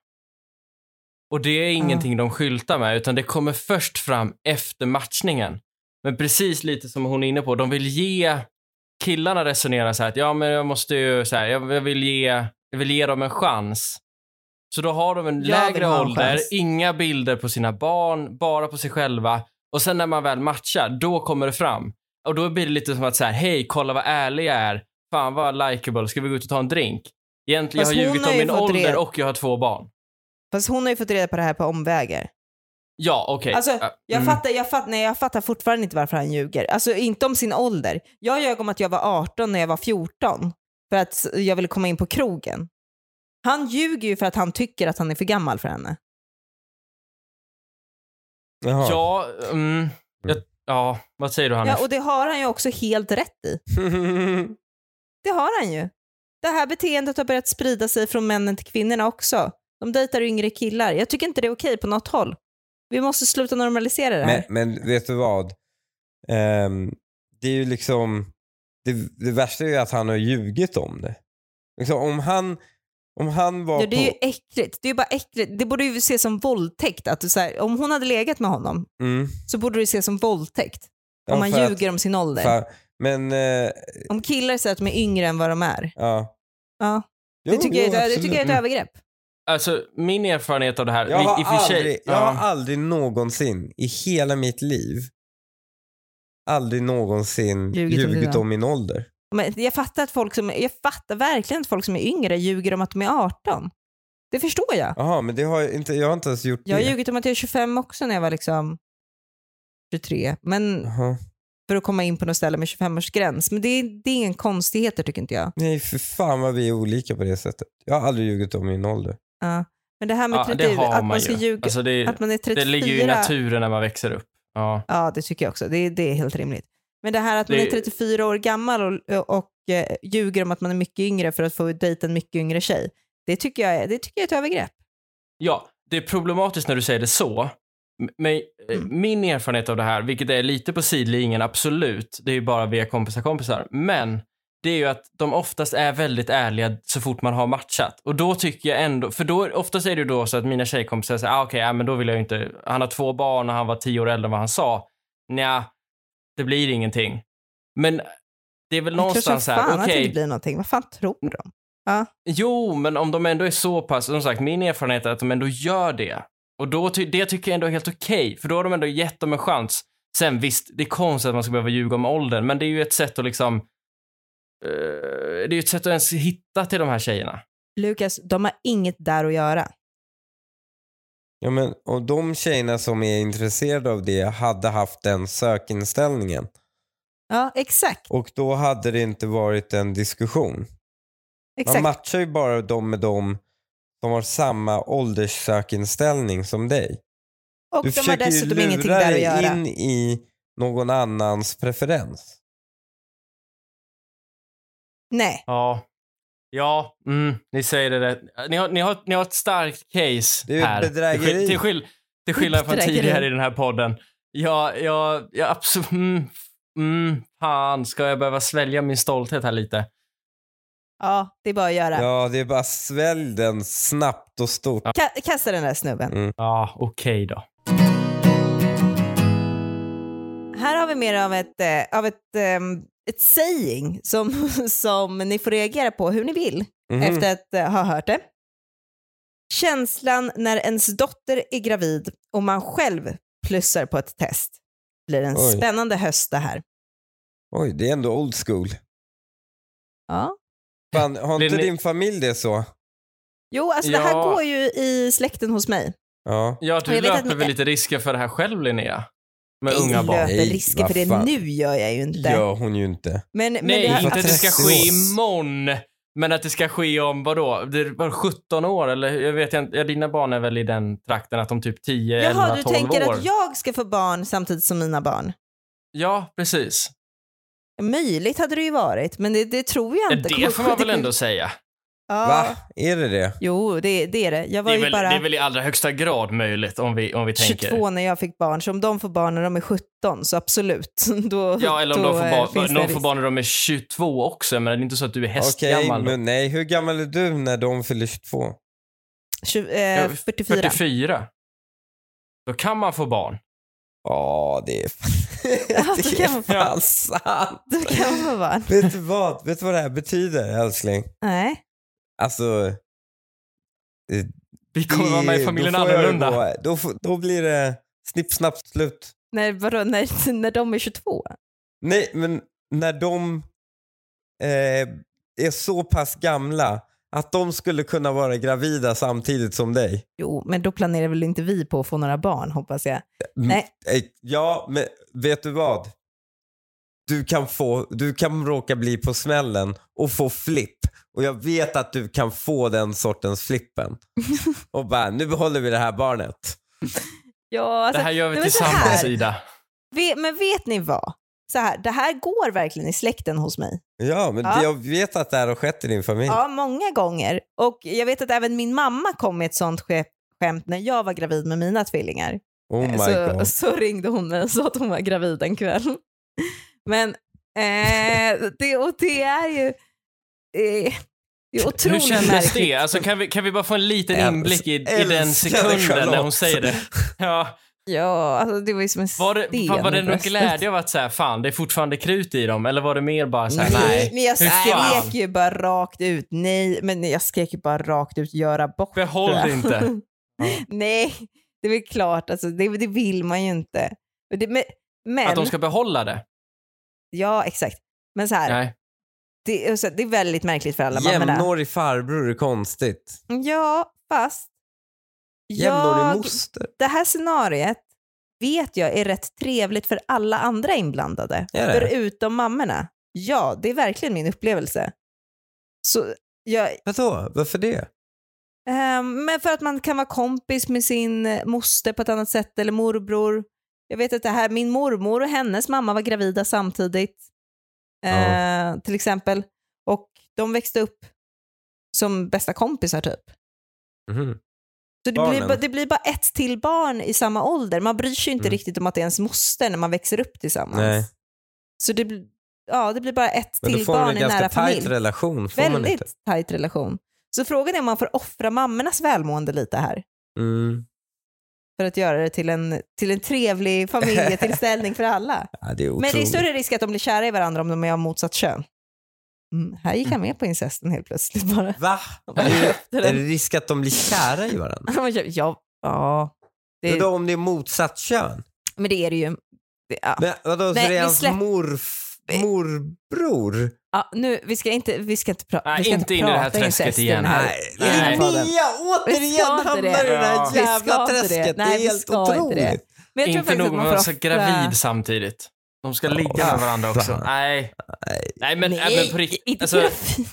Speaker 2: Och det är ingenting de skyltar med, utan det kommer först fram efter matchningen. Men precis lite som hon är inne på, de vill ge killarna resonerar så här att ja, men jag måste ju så här, jag, jag, vill ge, jag vill ge dem en chans. Så då har de en
Speaker 1: Jag vill
Speaker 2: lägre
Speaker 1: ha en
Speaker 2: ålder,
Speaker 1: chans.
Speaker 2: inga bilder på sina barn, bara på sig själva. Och sen när man väl matchar, då kommer det fram. Och då blir det lite som att så här, hej, kolla vad ärlig jag är. Fan vad likeable, ska vi gå ut och ta en drink? Egentligen
Speaker 1: Fast
Speaker 2: har jag
Speaker 1: hon
Speaker 2: ljugit
Speaker 1: har
Speaker 2: om
Speaker 1: ju
Speaker 2: min
Speaker 1: fått
Speaker 2: ålder
Speaker 1: red-
Speaker 2: och jag har två barn.
Speaker 1: Fast hon har ju fått reda på det här på omvägar.
Speaker 2: Ja, okej.
Speaker 1: Alltså,
Speaker 2: Äh,
Speaker 1: Jag,
Speaker 2: mm.
Speaker 1: fattar, jag, fattar, nej, jag fattar fortfarande inte varför han ljuger. Alltså inte om sin ålder. Jag ljög om att jag var 18 när jag var 14 för att jag ville komma in på krogen. Han ljuger ju för att han tycker att han är för gammal för henne.
Speaker 3: Jaha.
Speaker 1: <laughs>
Speaker 2: Ja, mm, jag Ja, vad säger du Hanif?
Speaker 1: Ja, och det har han ju också helt rätt i. Det har han ju. Det här beteendet har börjat sprida sig från männen till kvinnorna också. De dejtar yngre killar. Jag tycker inte det är okej på något håll. Vi måste sluta normalisera det här.
Speaker 3: men, men vet du vad? Ehm, det är ju liksom, det, det värsta är ju att han har ljugit om det. Liksom, om han, om han var
Speaker 1: Ja, det är ju
Speaker 3: på...
Speaker 1: äckligt. Det är ju bara äckligt. Det borde ju ses som våldtäkt. Att du, så här, om hon hade legat med honom
Speaker 3: Mm.
Speaker 1: så borde det ses som våldtäkt.
Speaker 3: Ja,
Speaker 1: om man
Speaker 3: för att-
Speaker 1: ljuger om sin ålder.
Speaker 3: För, men, eh,
Speaker 1: Om killar säger att de är yngre än vad de är.
Speaker 3: ja.
Speaker 1: Ja.
Speaker 3: Jo,
Speaker 1: det, tycker
Speaker 3: jo,
Speaker 1: jag, är ett- det
Speaker 3: absolut. Mm.
Speaker 1: tycker jag är ett övergrepp.
Speaker 2: Alltså, min erfarenhet av det här...
Speaker 3: Jag har,
Speaker 2: i, i och för sig-
Speaker 3: aldrig, jag
Speaker 2: ja.
Speaker 3: har aldrig någonsin i hela mitt liv aldrig någonsin
Speaker 1: Ljugit
Speaker 3: ljugit,
Speaker 1: om dina.
Speaker 3: om min ålder.
Speaker 1: Men jag, fattar att folk som, jag fattar verkligen att folk som är yngre ljuger om att de är 18. Det förstår jag.
Speaker 3: Jaha, men det har jag, inte, jag har inte ens gjort
Speaker 1: Jag har
Speaker 3: det.
Speaker 1: ljugit om att jag är 25 också när jag var liksom 23. Men
Speaker 3: Jaha.
Speaker 1: för att komma in på något ställe med 25-årsgräns. Men det, det är ingen konstigheter tycker inte jag.
Speaker 3: Nej, för fan vad vi är olika på det sättet. Jag har aldrig ljugit om min ålder.
Speaker 1: Ja. Men det här med
Speaker 2: Ja,
Speaker 1: 30,
Speaker 2: det har
Speaker 1: att
Speaker 2: man,
Speaker 1: man ska
Speaker 2: ju.
Speaker 1: ljuga,
Speaker 2: Alltså, det,
Speaker 1: att man är 34.
Speaker 2: det ligger ju i naturen när man växer upp. Ja.
Speaker 1: Ja, det tycker jag också. Det, det är helt rimligt. Men det här att man
Speaker 2: Det-
Speaker 1: är 34 år gammal och, och eh, ljuger om att man är mycket yngre för att få dejta en mycket yngre tjej. Det tycker jag är, det tycker jag är ett övergrepp.
Speaker 2: Ja, det är problematiskt när du säger det så. M- Men eh,
Speaker 1: Mm.
Speaker 2: min erfarenhet av det här, vilket är lite på sidlinjen, absolut, det är ju bara via kompisar kompisar, men det är ju att de oftast är väldigt ärliga så fort man har matchat. Och då tycker jag ändå, för då, oftast är det ju då så att mina tjejkompisar säger, ah, okej, ja, men då vill jag ju inte, han har två barn och han var tio år äldre än vad han sa. Nja, det blir ingenting. Men det är väl
Speaker 1: jag
Speaker 2: någonstans
Speaker 1: tror
Speaker 2: så
Speaker 1: som
Speaker 2: här,
Speaker 1: fan
Speaker 2: okej.
Speaker 1: att det inte blir någonting. Vad fan tror de?
Speaker 2: Jo, men om de ändå är så pass, som sagt, min erfarenhet är att de ändå gör det. Och då ty- det tycker jag ändå är helt okej, för då har de ändå gett dem en chans. Sen visst, det är konstigt att man ska behöva ljuga om åldern, men det är ju ett sätt att liksom... eh, det är ju ett sätt att ens hitta till de här tjejerna.
Speaker 1: Lukas, de har inget där att göra.
Speaker 3: Ja, men, och de tjejerna som är intresserade av det hade haft den sökinställningen.
Speaker 1: Ja, exakt.
Speaker 3: Och då hade det inte varit en diskussion. Man
Speaker 1: exakt.
Speaker 3: matchar ju bara dem med dem som har samma ålderssökinställning som dig.
Speaker 1: och
Speaker 3: Du
Speaker 1: de har
Speaker 3: försöker ju
Speaker 1: dessutom
Speaker 3: lura
Speaker 1: ingenting där att
Speaker 3: dig
Speaker 1: göra.
Speaker 3: in i någon annans preferens.
Speaker 1: Nej.
Speaker 2: Ja. Ja, mm, ni säger det rätt. Ni har, ni, har, ni har ett starkt case
Speaker 3: Det är ju ett
Speaker 2: här.
Speaker 3: bedrägeri.
Speaker 2: Till, skill- till, skill- till skillnad från
Speaker 1: Bedrägeri.
Speaker 2: tidigare i den här podden. Ja, ja, ja absolut. Mm, f- mm, fan, ska jag behöva svälja min stolthet här lite?
Speaker 1: Ja, det är bara att göra.
Speaker 3: Ja, det är bara svälj den snabbt och stort.
Speaker 1: Ka- kasta den där snubben.
Speaker 3: Mm.
Speaker 2: Ja, okej då.
Speaker 1: Här har vi mer av ett, eh, av ett, ehm, ett saying som, <laughs> som ni får reagera på hur ni vill
Speaker 3: Mhm.
Speaker 1: efter att eh, ha hört det. Känslan när ens dotter är gravid och man själv plussar på ett test. Blir en
Speaker 3: Oj.
Speaker 1: spännande höst det här.
Speaker 3: Oj, det är ändå old school.
Speaker 1: Ja.
Speaker 3: Fan, har
Speaker 2: Blir
Speaker 3: inte
Speaker 2: ni-
Speaker 3: din familj det så?
Speaker 1: Jo, alltså det här
Speaker 2: Ja.
Speaker 1: går ju i släkten hos mig.
Speaker 3: Ja.
Speaker 2: Ja,
Speaker 1: Och
Speaker 2: du
Speaker 1: jag vet att
Speaker 2: löper
Speaker 1: ni-
Speaker 2: väl lite risker för det här själv, Linnea? Med unga
Speaker 1: jag
Speaker 2: barn.
Speaker 1: löper
Speaker 3: Nej,
Speaker 1: risker för
Speaker 3: vad
Speaker 1: det
Speaker 3: fan.
Speaker 1: nu gör jag ju inte.
Speaker 3: Gör hon ju inte.
Speaker 1: Men, men
Speaker 2: Nej,
Speaker 1: det här, Alltså,
Speaker 2: inte att det ska
Speaker 3: 30
Speaker 2: ske
Speaker 3: år.
Speaker 2: imorgon. Men att det ska ske om, vadå? Det var 17 år eller? Jag vet inte. Ja, dina barn är väl i den trakten att de typ 10,
Speaker 1: Jaha,
Speaker 2: 11,
Speaker 1: du
Speaker 2: 12
Speaker 1: tänker
Speaker 2: år.
Speaker 1: att jag ska få barn samtidigt som mina barn?
Speaker 2: Ja, precis.
Speaker 1: Möjligt hade det ju varit, men det, det tror jag
Speaker 2: Ja,
Speaker 1: inte.
Speaker 2: Det får man väl ändå säga.
Speaker 1: Ja.
Speaker 3: Va? Är det det?
Speaker 1: Jo, det, det är det. Jag
Speaker 2: Det
Speaker 1: var
Speaker 2: är,
Speaker 1: ju
Speaker 2: väl,
Speaker 1: bara
Speaker 2: det är väl i allra högsta grad möjligt om vi, om vi tänker.
Speaker 1: 22 när jag fick barn, så om de får barn när de är 17 så absolut. <laughs> Då,
Speaker 2: Ja, eller om
Speaker 1: då,
Speaker 2: de får,
Speaker 1: eh, finns
Speaker 2: barn,
Speaker 1: det
Speaker 2: någon
Speaker 1: risk.
Speaker 2: får barn när de är 22 också. Men det är inte så att du är
Speaker 3: Okej,
Speaker 2: hästgammal. då.
Speaker 3: men nej. Hur gammal är du när de fyller 22?
Speaker 1: Tju-
Speaker 2: Ja,
Speaker 1: eh, 44.
Speaker 2: 44. Då kan man få barn.
Speaker 3: Ja, det är,
Speaker 1: <laughs> Ja,
Speaker 3: <laughs> det
Speaker 1: så
Speaker 3: är
Speaker 1: kan man
Speaker 3: fan
Speaker 1: få-
Speaker 3: sant.
Speaker 1: Då <laughs> kan man få barn.
Speaker 3: Vet du, vad, vet du vad det här betyder älskling?
Speaker 1: Nej.
Speaker 3: Alltså...
Speaker 2: Vi kommer
Speaker 3: det-
Speaker 2: vara med i familjen
Speaker 3: då får jag
Speaker 2: annorlunda.
Speaker 1: Alltså,
Speaker 3: gå- Då, får- då blir det snipp, snapp, slut.
Speaker 1: När, vadå, när, när de är 22?
Speaker 3: Nej, men när de eh, är så pass gamla att de skulle kunna vara gravida samtidigt som dig.
Speaker 1: Jo, men då planerar väl inte vi på att få några barn, hoppas jag. Nej.
Speaker 3: Eh, Ja, men vet du vad? Du kan, få, du kan råka bli på smällen och få flipp. Och jag vet att du kan få den sortens
Speaker 1: <laughs>
Speaker 3: flippen. och bara, nu behåller vi det här barnet.
Speaker 1: Ja, alltså,
Speaker 2: det här gör vi
Speaker 1: nej, men så
Speaker 2: tillsammans,
Speaker 1: här.
Speaker 2: Ida.
Speaker 1: Ve- Men vet ni vad? Så här, det här går verkligen i släkten hos mig.
Speaker 3: Ja, men
Speaker 1: Ja.
Speaker 3: jag vet att det här har skett i din familj.
Speaker 1: Ja, många gånger. Och jag vet att även min mamma kom med ett sånt ske- skämt när jag var gravid med mina tvillingar.
Speaker 3: Oh my
Speaker 1: så,
Speaker 3: god.
Speaker 1: så ringde hon mig och sa att hon var gravid en kväll. <laughs> Men eh, det, och det är ju... Eh, det är otroligt
Speaker 2: Hur kändes
Speaker 1: märkligt.
Speaker 2: det? Alltså, kan, vi, kan vi bara få en liten
Speaker 3: Äls-
Speaker 2: inblick i, i den
Speaker 3: älskade
Speaker 2: sekunden när hon
Speaker 3: Charlotte.
Speaker 2: säger det? Ja,
Speaker 1: Ja, alltså, det var ju som en
Speaker 2: var det,
Speaker 1: sten
Speaker 2: var, var det
Speaker 1: i
Speaker 2: någon
Speaker 1: bröstet.
Speaker 2: glädje av att säga fan, det är fortfarande krut i dem? Eller var det mer bara såhär,
Speaker 3: Nej.
Speaker 2: nej,
Speaker 1: men jag
Speaker 2: hur fan?
Speaker 1: skrek ju bara rakt ut nej, men jag skrek ju bara rakt ut göra bort
Speaker 2: behåll det inte.
Speaker 1: Nej, det är väl klart, alltså, det, det vill man ju inte. Och Det, men men
Speaker 2: Att de ska behålla det?
Speaker 1: ja, exakt. Men så här,
Speaker 2: Nej.
Speaker 1: det, och så, det är väldigt märkligt för alla mammorna.
Speaker 3: Jämnårig farbror är konstigt.
Speaker 1: Ja, fast
Speaker 3: Jämnårig
Speaker 1: jag,
Speaker 3: moster.
Speaker 1: det här scenariet vet jag är rätt trevligt för alla andra inblandade,
Speaker 3: Är det?
Speaker 1: förutom mammorna. Ja, det är verkligen min upplevelse. Så jag,
Speaker 3: Vadå? Varför det?
Speaker 1: Ehm, Men för att man kan vara kompis med sin eh, moster på ett annat sätt eller morbror. Jag vet att det här, min mormor och hennes mamma var gravida samtidigt. eh, Till exempel. Och de växte upp som bästa kompisar typ.
Speaker 3: Mhm.
Speaker 1: Så det blir,
Speaker 3: Barnen.
Speaker 1: ba- det blir bara ett till barn i samma ålder. Man bryr sig ju inte
Speaker 3: Mm.
Speaker 1: riktigt om att det är ens moster när man växer upp tillsammans.
Speaker 3: Nej.
Speaker 1: Så det, blir- ja, det blir bara ett
Speaker 3: Men då
Speaker 1: till
Speaker 3: får man
Speaker 1: barn
Speaker 3: en
Speaker 1: i nära
Speaker 3: ganska
Speaker 1: familj.
Speaker 3: tajt relation. Får man inte?
Speaker 1: Väldigt tajt relation. Så frågan är om man får offra mammornas välmående lite här.
Speaker 3: Mm.
Speaker 1: för att göra det till en, till en trevlig familjetillställning för <laughs> alla.
Speaker 3: Ja, det är
Speaker 1: Men
Speaker 3: otroligt.
Speaker 1: det är större risk att de blir kära i varandra om de är av motsatt kön. Mm, här gick han med på incesten helt plötsligt bara.
Speaker 3: Va? Är det risk att de blir kära i varandra?
Speaker 1: Han bara, <laughs> ja, ja. <laughs> Det,
Speaker 3: Vadå om det är motsatt kön?
Speaker 1: men det är det ju. Det, ja.
Speaker 3: Men, vadå,
Speaker 1: Nej,
Speaker 3: så det
Speaker 1: vi
Speaker 3: är hans
Speaker 1: släpp-
Speaker 3: morf- morbror?
Speaker 1: Ja, nu, vi ska inte, vi ska inte, pra-
Speaker 2: Nej,
Speaker 1: vi ska
Speaker 2: inte in i det här
Speaker 1: prata
Speaker 2: träsket
Speaker 1: incest i
Speaker 2: igen.
Speaker 1: den här-
Speaker 3: Nej,
Speaker 1: i den här
Speaker 2: Nej.
Speaker 1: podden.
Speaker 3: Linnea
Speaker 1: Vi ska
Speaker 3: återigen
Speaker 1: inte
Speaker 3: hamnar i
Speaker 1: det.
Speaker 3: det här
Speaker 2: Ja.
Speaker 1: Vi ska
Speaker 3: jävla
Speaker 1: inte det.
Speaker 3: träsket. Det
Speaker 1: Nej,
Speaker 3: är
Speaker 1: vi
Speaker 3: helt
Speaker 1: ska inte det.
Speaker 3: otroligt.
Speaker 1: Men jag tror
Speaker 2: Inte
Speaker 1: faktiskt
Speaker 2: nog
Speaker 1: att
Speaker 2: med
Speaker 1: man
Speaker 2: att
Speaker 1: får
Speaker 2: vara
Speaker 1: offra-
Speaker 2: gravid samtidigt. De ska ligga med varandra också.
Speaker 3: fan.
Speaker 2: Nej. Nej, men, nej, men på
Speaker 1: Nej,
Speaker 2: riktigt.
Speaker 1: inte
Speaker 2: Alltså,
Speaker 1: gravid.
Speaker 2: Nej.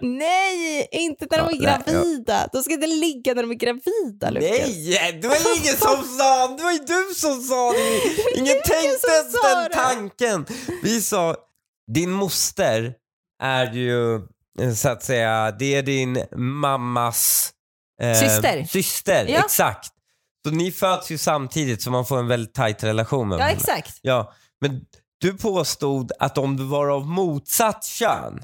Speaker 1: Nej, inte när de är
Speaker 3: Ja, nej, ja.
Speaker 1: gravida. De ska inte ligga när de är gravida, Lukas.
Speaker 3: Nej, det var
Speaker 1: <laughs>
Speaker 3: ingen som sa det. var ju du som sa det. Ingen tänkte
Speaker 1: som
Speaker 3: ens
Speaker 1: sa
Speaker 3: den
Speaker 1: det.
Speaker 3: tanken. Vi sa, din moster är ju eh, så att säga, det är din mammas eh,
Speaker 1: Syster.
Speaker 3: Syster,
Speaker 1: Ja.
Speaker 3: exakt. Så ni föds ju samtidigt så man får en väldigt tajt relation med
Speaker 1: Ja,
Speaker 3: varandra.
Speaker 1: exakt.
Speaker 3: Ja, men du påstod att om du var av motsatt kön,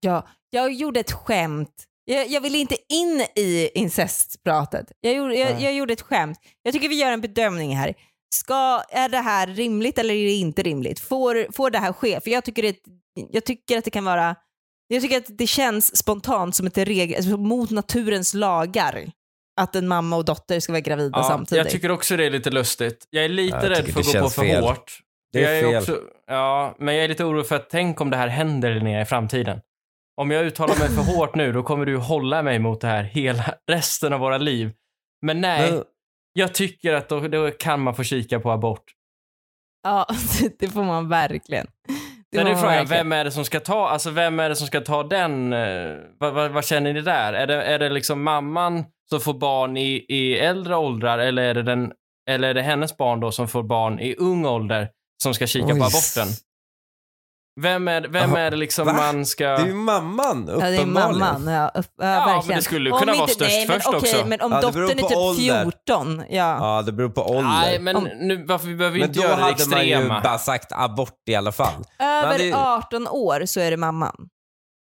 Speaker 1: Ja, jag gjorde ett skämt. Jag, jag ville inte in i incestpratet. Jag gjorde, jag,
Speaker 3: Nej.
Speaker 1: jag gjorde ett skämt. Jag tycker vi gör en bedömning här. Ska, är det här rimligt eller är det inte rimligt? Får, får det här ske? För jag tycker, det, jag tycker att det kan vara... Jag tycker att det känns spontant som ett regel, alltså mot naturens lagar att en mamma och dotter ska vara gravida
Speaker 2: ja,
Speaker 1: samtidigt.
Speaker 2: jag tycker också det är lite lustigt. Jag är lite
Speaker 3: Ja, jag
Speaker 2: rädd
Speaker 3: tycker
Speaker 2: för att
Speaker 3: det
Speaker 2: gå på
Speaker 3: känns
Speaker 2: för
Speaker 3: fel.
Speaker 2: hårt.
Speaker 3: det
Speaker 2: jag
Speaker 3: är fel.
Speaker 2: Också, ja, men jag är lite orolig för att tänk om det här händer Linnea i framtiden. Om jag uttalar mig för
Speaker 3: <laughs>
Speaker 2: hårt nu, då kommer du hålla mig mot det här hela <laughs> resten av våra liv. Men nej,
Speaker 3: Men-
Speaker 2: jag tycker att då, då kan man få kika på abort.
Speaker 1: Ja, <laughs> det får man verkligen. Det
Speaker 2: Där
Speaker 1: får
Speaker 2: är
Speaker 1: man
Speaker 2: frågan,
Speaker 1: verkligen.
Speaker 2: vem är det som ska ta, alltså vem är det som ska ta den, eh, vad, vad, vad känner ni där? Är det, är det liksom mamman som får barn i, i äldre åldrar eller är, det den, eller är det hennes barn då som får barn i ung ålder som ska kika
Speaker 3: Oj.
Speaker 2: på aborten? Vem är, vem
Speaker 3: Jaha,
Speaker 2: är det liksom
Speaker 3: va?
Speaker 2: man ska...
Speaker 3: Det är ju mamman
Speaker 1: Ja, det är
Speaker 3: uppenbarligen.
Speaker 1: mamman. Ja, upp, ja,
Speaker 2: Ja,
Speaker 1: verkligen.
Speaker 2: men det skulle ju kunna vara störst
Speaker 1: nej,
Speaker 2: först
Speaker 1: men,
Speaker 2: också.
Speaker 1: Okej, men om
Speaker 3: Ja, det beror
Speaker 1: dottern är
Speaker 3: på
Speaker 1: typ
Speaker 3: ålder.
Speaker 1: 14, ja.
Speaker 3: Ja, det beror på ålder.
Speaker 2: Nej, men
Speaker 1: Om-
Speaker 2: nu, varför, vi behöver ju
Speaker 3: Men
Speaker 2: inte
Speaker 3: då
Speaker 2: göra det
Speaker 3: hade man ju
Speaker 2: extrema.
Speaker 3: bara sagt abort i alla fall.
Speaker 1: Över
Speaker 3: Men det-
Speaker 1: 18 år så är det mamman.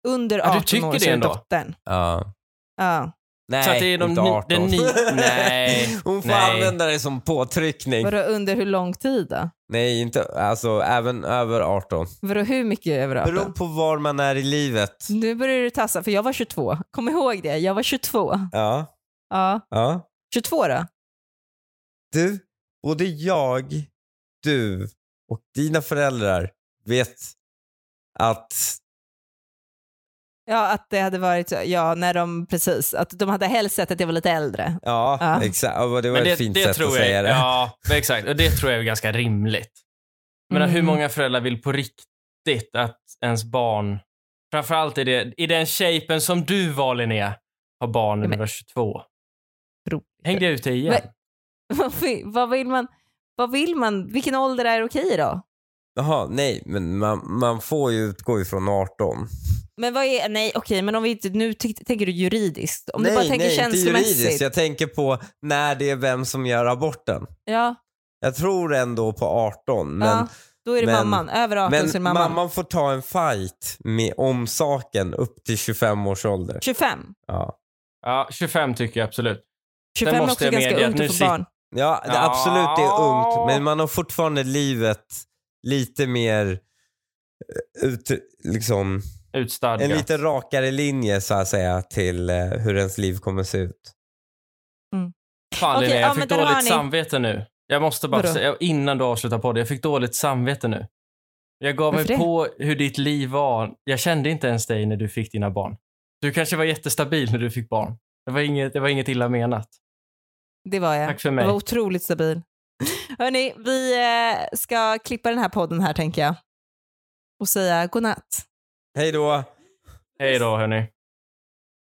Speaker 1: Under
Speaker 2: Ja, du
Speaker 1: 18
Speaker 2: tycker
Speaker 1: år
Speaker 2: det
Speaker 1: så är det
Speaker 2: ändå?
Speaker 1: dottern.
Speaker 3: Ja.
Speaker 1: Ja.
Speaker 3: Nej,
Speaker 2: Så att det är de
Speaker 3: inte
Speaker 2: ni-
Speaker 3: 18.
Speaker 2: den
Speaker 3: <laughs>
Speaker 2: ni- nej,
Speaker 3: Hon får
Speaker 2: nej.
Speaker 3: använda det som påtryckning.
Speaker 1: Vadå under hur lång tid då?
Speaker 3: Nej, inte, alltså även över 18.
Speaker 1: Vadå hur mycket över
Speaker 3: Det
Speaker 1: 18?
Speaker 3: beror på var man är i livet.
Speaker 1: Nu börjar du tassa, för jag var 22. Kom ihåg det, jag var 22.
Speaker 3: Ja,
Speaker 1: Ja.
Speaker 3: ja.
Speaker 1: 22 då?
Speaker 3: Du, både jag, du och dina föräldrar vet att
Speaker 1: Ja, att det hade varit, ja, när de, precis, att de hade helst sett att jag var lite äldre.
Speaker 3: Ja,
Speaker 1: Ja.
Speaker 3: exakt. Ja, Det var
Speaker 2: Men
Speaker 3: ett fint sätt
Speaker 2: tror
Speaker 3: att
Speaker 2: jag,
Speaker 3: säga det.
Speaker 2: Ja, men exakt. Och det tror jag är ganska rimligt. Men
Speaker 1: Mm.
Speaker 2: hur
Speaker 1: <laughs>
Speaker 2: många föräldrar vill på riktigt att ens barn, framförallt i, det, i den shapen som du var Linnea, har barn när
Speaker 1: Men-
Speaker 2: du var 22?
Speaker 1: Tror-
Speaker 2: Hängde jag ut dig igen?
Speaker 1: Vad vill- Vad vill man? Vad vill man? Vilken ålder är okej då?
Speaker 3: Jaha, nej, men man, man får ju utgå ifrån 18.
Speaker 1: Men vad är, nej okej, men om vi inte, nu ty- tänker du juridiskt. Om
Speaker 3: nej,
Speaker 1: du bara tänker
Speaker 3: nej, inte
Speaker 1: känslomässigt.
Speaker 3: juridiskt. Jag tänker på när det är vem som gör aborten.
Speaker 1: Ja,
Speaker 3: Jag tror ändå på 18, men
Speaker 1: ja, då är det
Speaker 3: men-
Speaker 1: mamman. Över 18
Speaker 3: Men
Speaker 1: så är det mamman.
Speaker 3: mamman. får ta en fight med om saken upp till 25 års ålder.
Speaker 1: 25.
Speaker 3: Ja,
Speaker 2: Ja, 25 tycker jag absolut.
Speaker 1: 25 är
Speaker 2: måste
Speaker 1: också
Speaker 2: jag
Speaker 1: ganska
Speaker 2: medge att
Speaker 1: ungt
Speaker 2: nu
Speaker 1: att få
Speaker 2: sit-
Speaker 1: barn.
Speaker 3: ja, det,
Speaker 2: Ja.
Speaker 3: absolut det är ungt men man har fortfarande livet lite mer eh, ut, liksom, en
Speaker 2: Utstadgat.
Speaker 3: lite rakare linje så att säga till eh, hur ens liv kommer se ut.
Speaker 2: Fan
Speaker 1: Okej,
Speaker 2: Linnea,
Speaker 1: ja,
Speaker 2: jag
Speaker 1: men
Speaker 2: fick
Speaker 1: där har
Speaker 2: dåligt
Speaker 1: ni.
Speaker 2: samvete nu. Jag måste bara
Speaker 1: Vadå?
Speaker 2: säga, innan du avslutar podden, jag fick dåligt samvete nu. Jag gav mig
Speaker 1: Varför det?
Speaker 2: på hur ditt liv var. Jag kände inte ens dig när du fick dina barn. Du kanske var jättestabil när du fick barn. Det var inget, det var inget illa menat.
Speaker 1: Det var jag.
Speaker 2: Tack för
Speaker 1: Jag
Speaker 2: mig.
Speaker 1: var otroligt stabil. Hörni, vi eh, ska klippa den här podden här tänker jag. Och säga godnatt.
Speaker 3: Hej då!
Speaker 2: Hej då hörni.